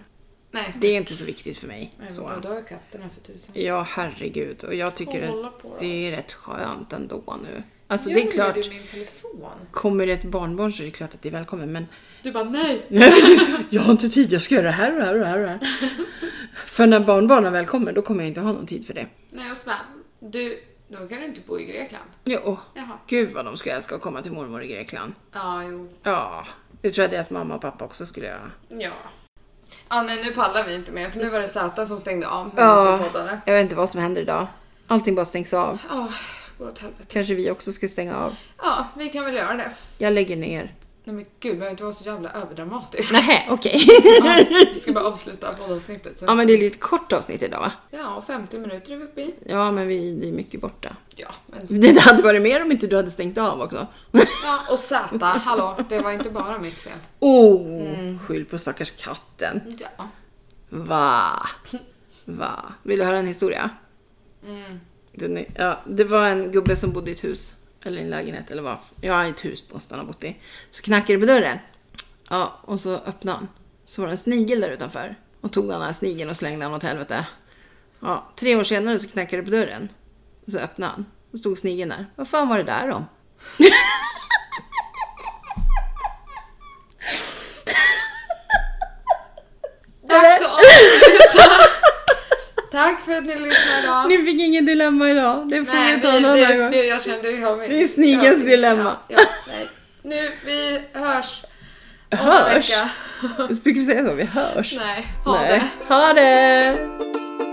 Speaker 2: nej.
Speaker 1: Det är inte så viktigt för mig.
Speaker 2: Men
Speaker 1: Så.
Speaker 2: vadå, Då har ju katterna för tusan.
Speaker 1: Ja, herregud. Och jag tycker
Speaker 2: Hålla
Speaker 1: att
Speaker 2: på då.
Speaker 1: det är rätt skönt ändå nu. Alltså
Speaker 2: Jo,
Speaker 1: det är
Speaker 2: men
Speaker 1: klart,
Speaker 2: Du min telefon.
Speaker 1: kommer det ett barnbarn så är det klart att det är välkommen. Men
Speaker 2: Du bara nej.
Speaker 1: Nej, jag har inte tid, jag ska göra det här och det här och det här. Och det här. För när barnbarnen väl kommer, då kommer jag inte ha någon tid för det.
Speaker 2: Nej och snäll. Du, då kan du inte bo i Grekland.
Speaker 1: Jo,
Speaker 2: Jaha.
Speaker 1: gud vad de skulle älska att komma till mormor i Grekland.
Speaker 2: Ja, jo.
Speaker 1: Ja, det tror jag deras mamma och pappa också skulle göra.
Speaker 2: Ja. Ah, nej, nu pallar vi inte mer för nu var det Zäta som stängde av medan vi
Speaker 1: Ja,
Speaker 2: poddade.
Speaker 1: jag vet inte vad som händer idag. Allting bara stängs av.
Speaker 2: Ja, går åt helvete.
Speaker 1: Kanske vi också ska stänga av.
Speaker 2: Ja, vi kan väl göra det.
Speaker 1: Jag lägger ner.
Speaker 2: Nej men gud, behöver inte vara så jävla överdramatisk.
Speaker 1: Nej, okej.
Speaker 2: Ja, vi ska bara avsluta poddavsnittet. sen.
Speaker 1: ja, men det är lite kort avsnitt idag va?
Speaker 2: Ja, 50 minuter är vi uppe i.
Speaker 1: Ja, men vi det är mycket borta.
Speaker 2: Ja, men...
Speaker 1: Det hade varit mer om inte du hade stängt av också.
Speaker 2: ja och Z, hallå, det var inte bara mitt fel.
Speaker 1: Oh, skyll på stackars katten.
Speaker 2: Ja.
Speaker 1: Va? Va? Vill du höra en historia?
Speaker 2: Mm.
Speaker 1: Den är, ja, det var en gubbe som bodde i ett hus, eller i en lägenhet, eller vad, ja i ett hus måste han ha bott i. Så knackade det på dörren. Ja, och så öppnade han. Så var det en snigel där utanför. Och tog han den här snigeln och slängde den åt helvete. Ja, tre år senare så knackade det på dörren. Och så öppnade han. Och stod snigeln där. Vad fan var det där om?
Speaker 2: Dags att avsluta! Tack för att ni lyssnade idag.
Speaker 1: Ni fick ingen dilemma idag. Det får vi ta
Speaker 2: vi-
Speaker 1: en annan
Speaker 2: det,
Speaker 1: gång.
Speaker 2: det, jag kände, jag har min,
Speaker 1: Det är snigelns
Speaker 2: ja,
Speaker 1: dilemma.
Speaker 2: Ja, ja, nej. Nu, vi hörs. om en
Speaker 1: Hörs?
Speaker 2: vecka.
Speaker 1: Brukar vi säga så? Vi hörs.
Speaker 2: Nej, ha det.
Speaker 1: Ha det!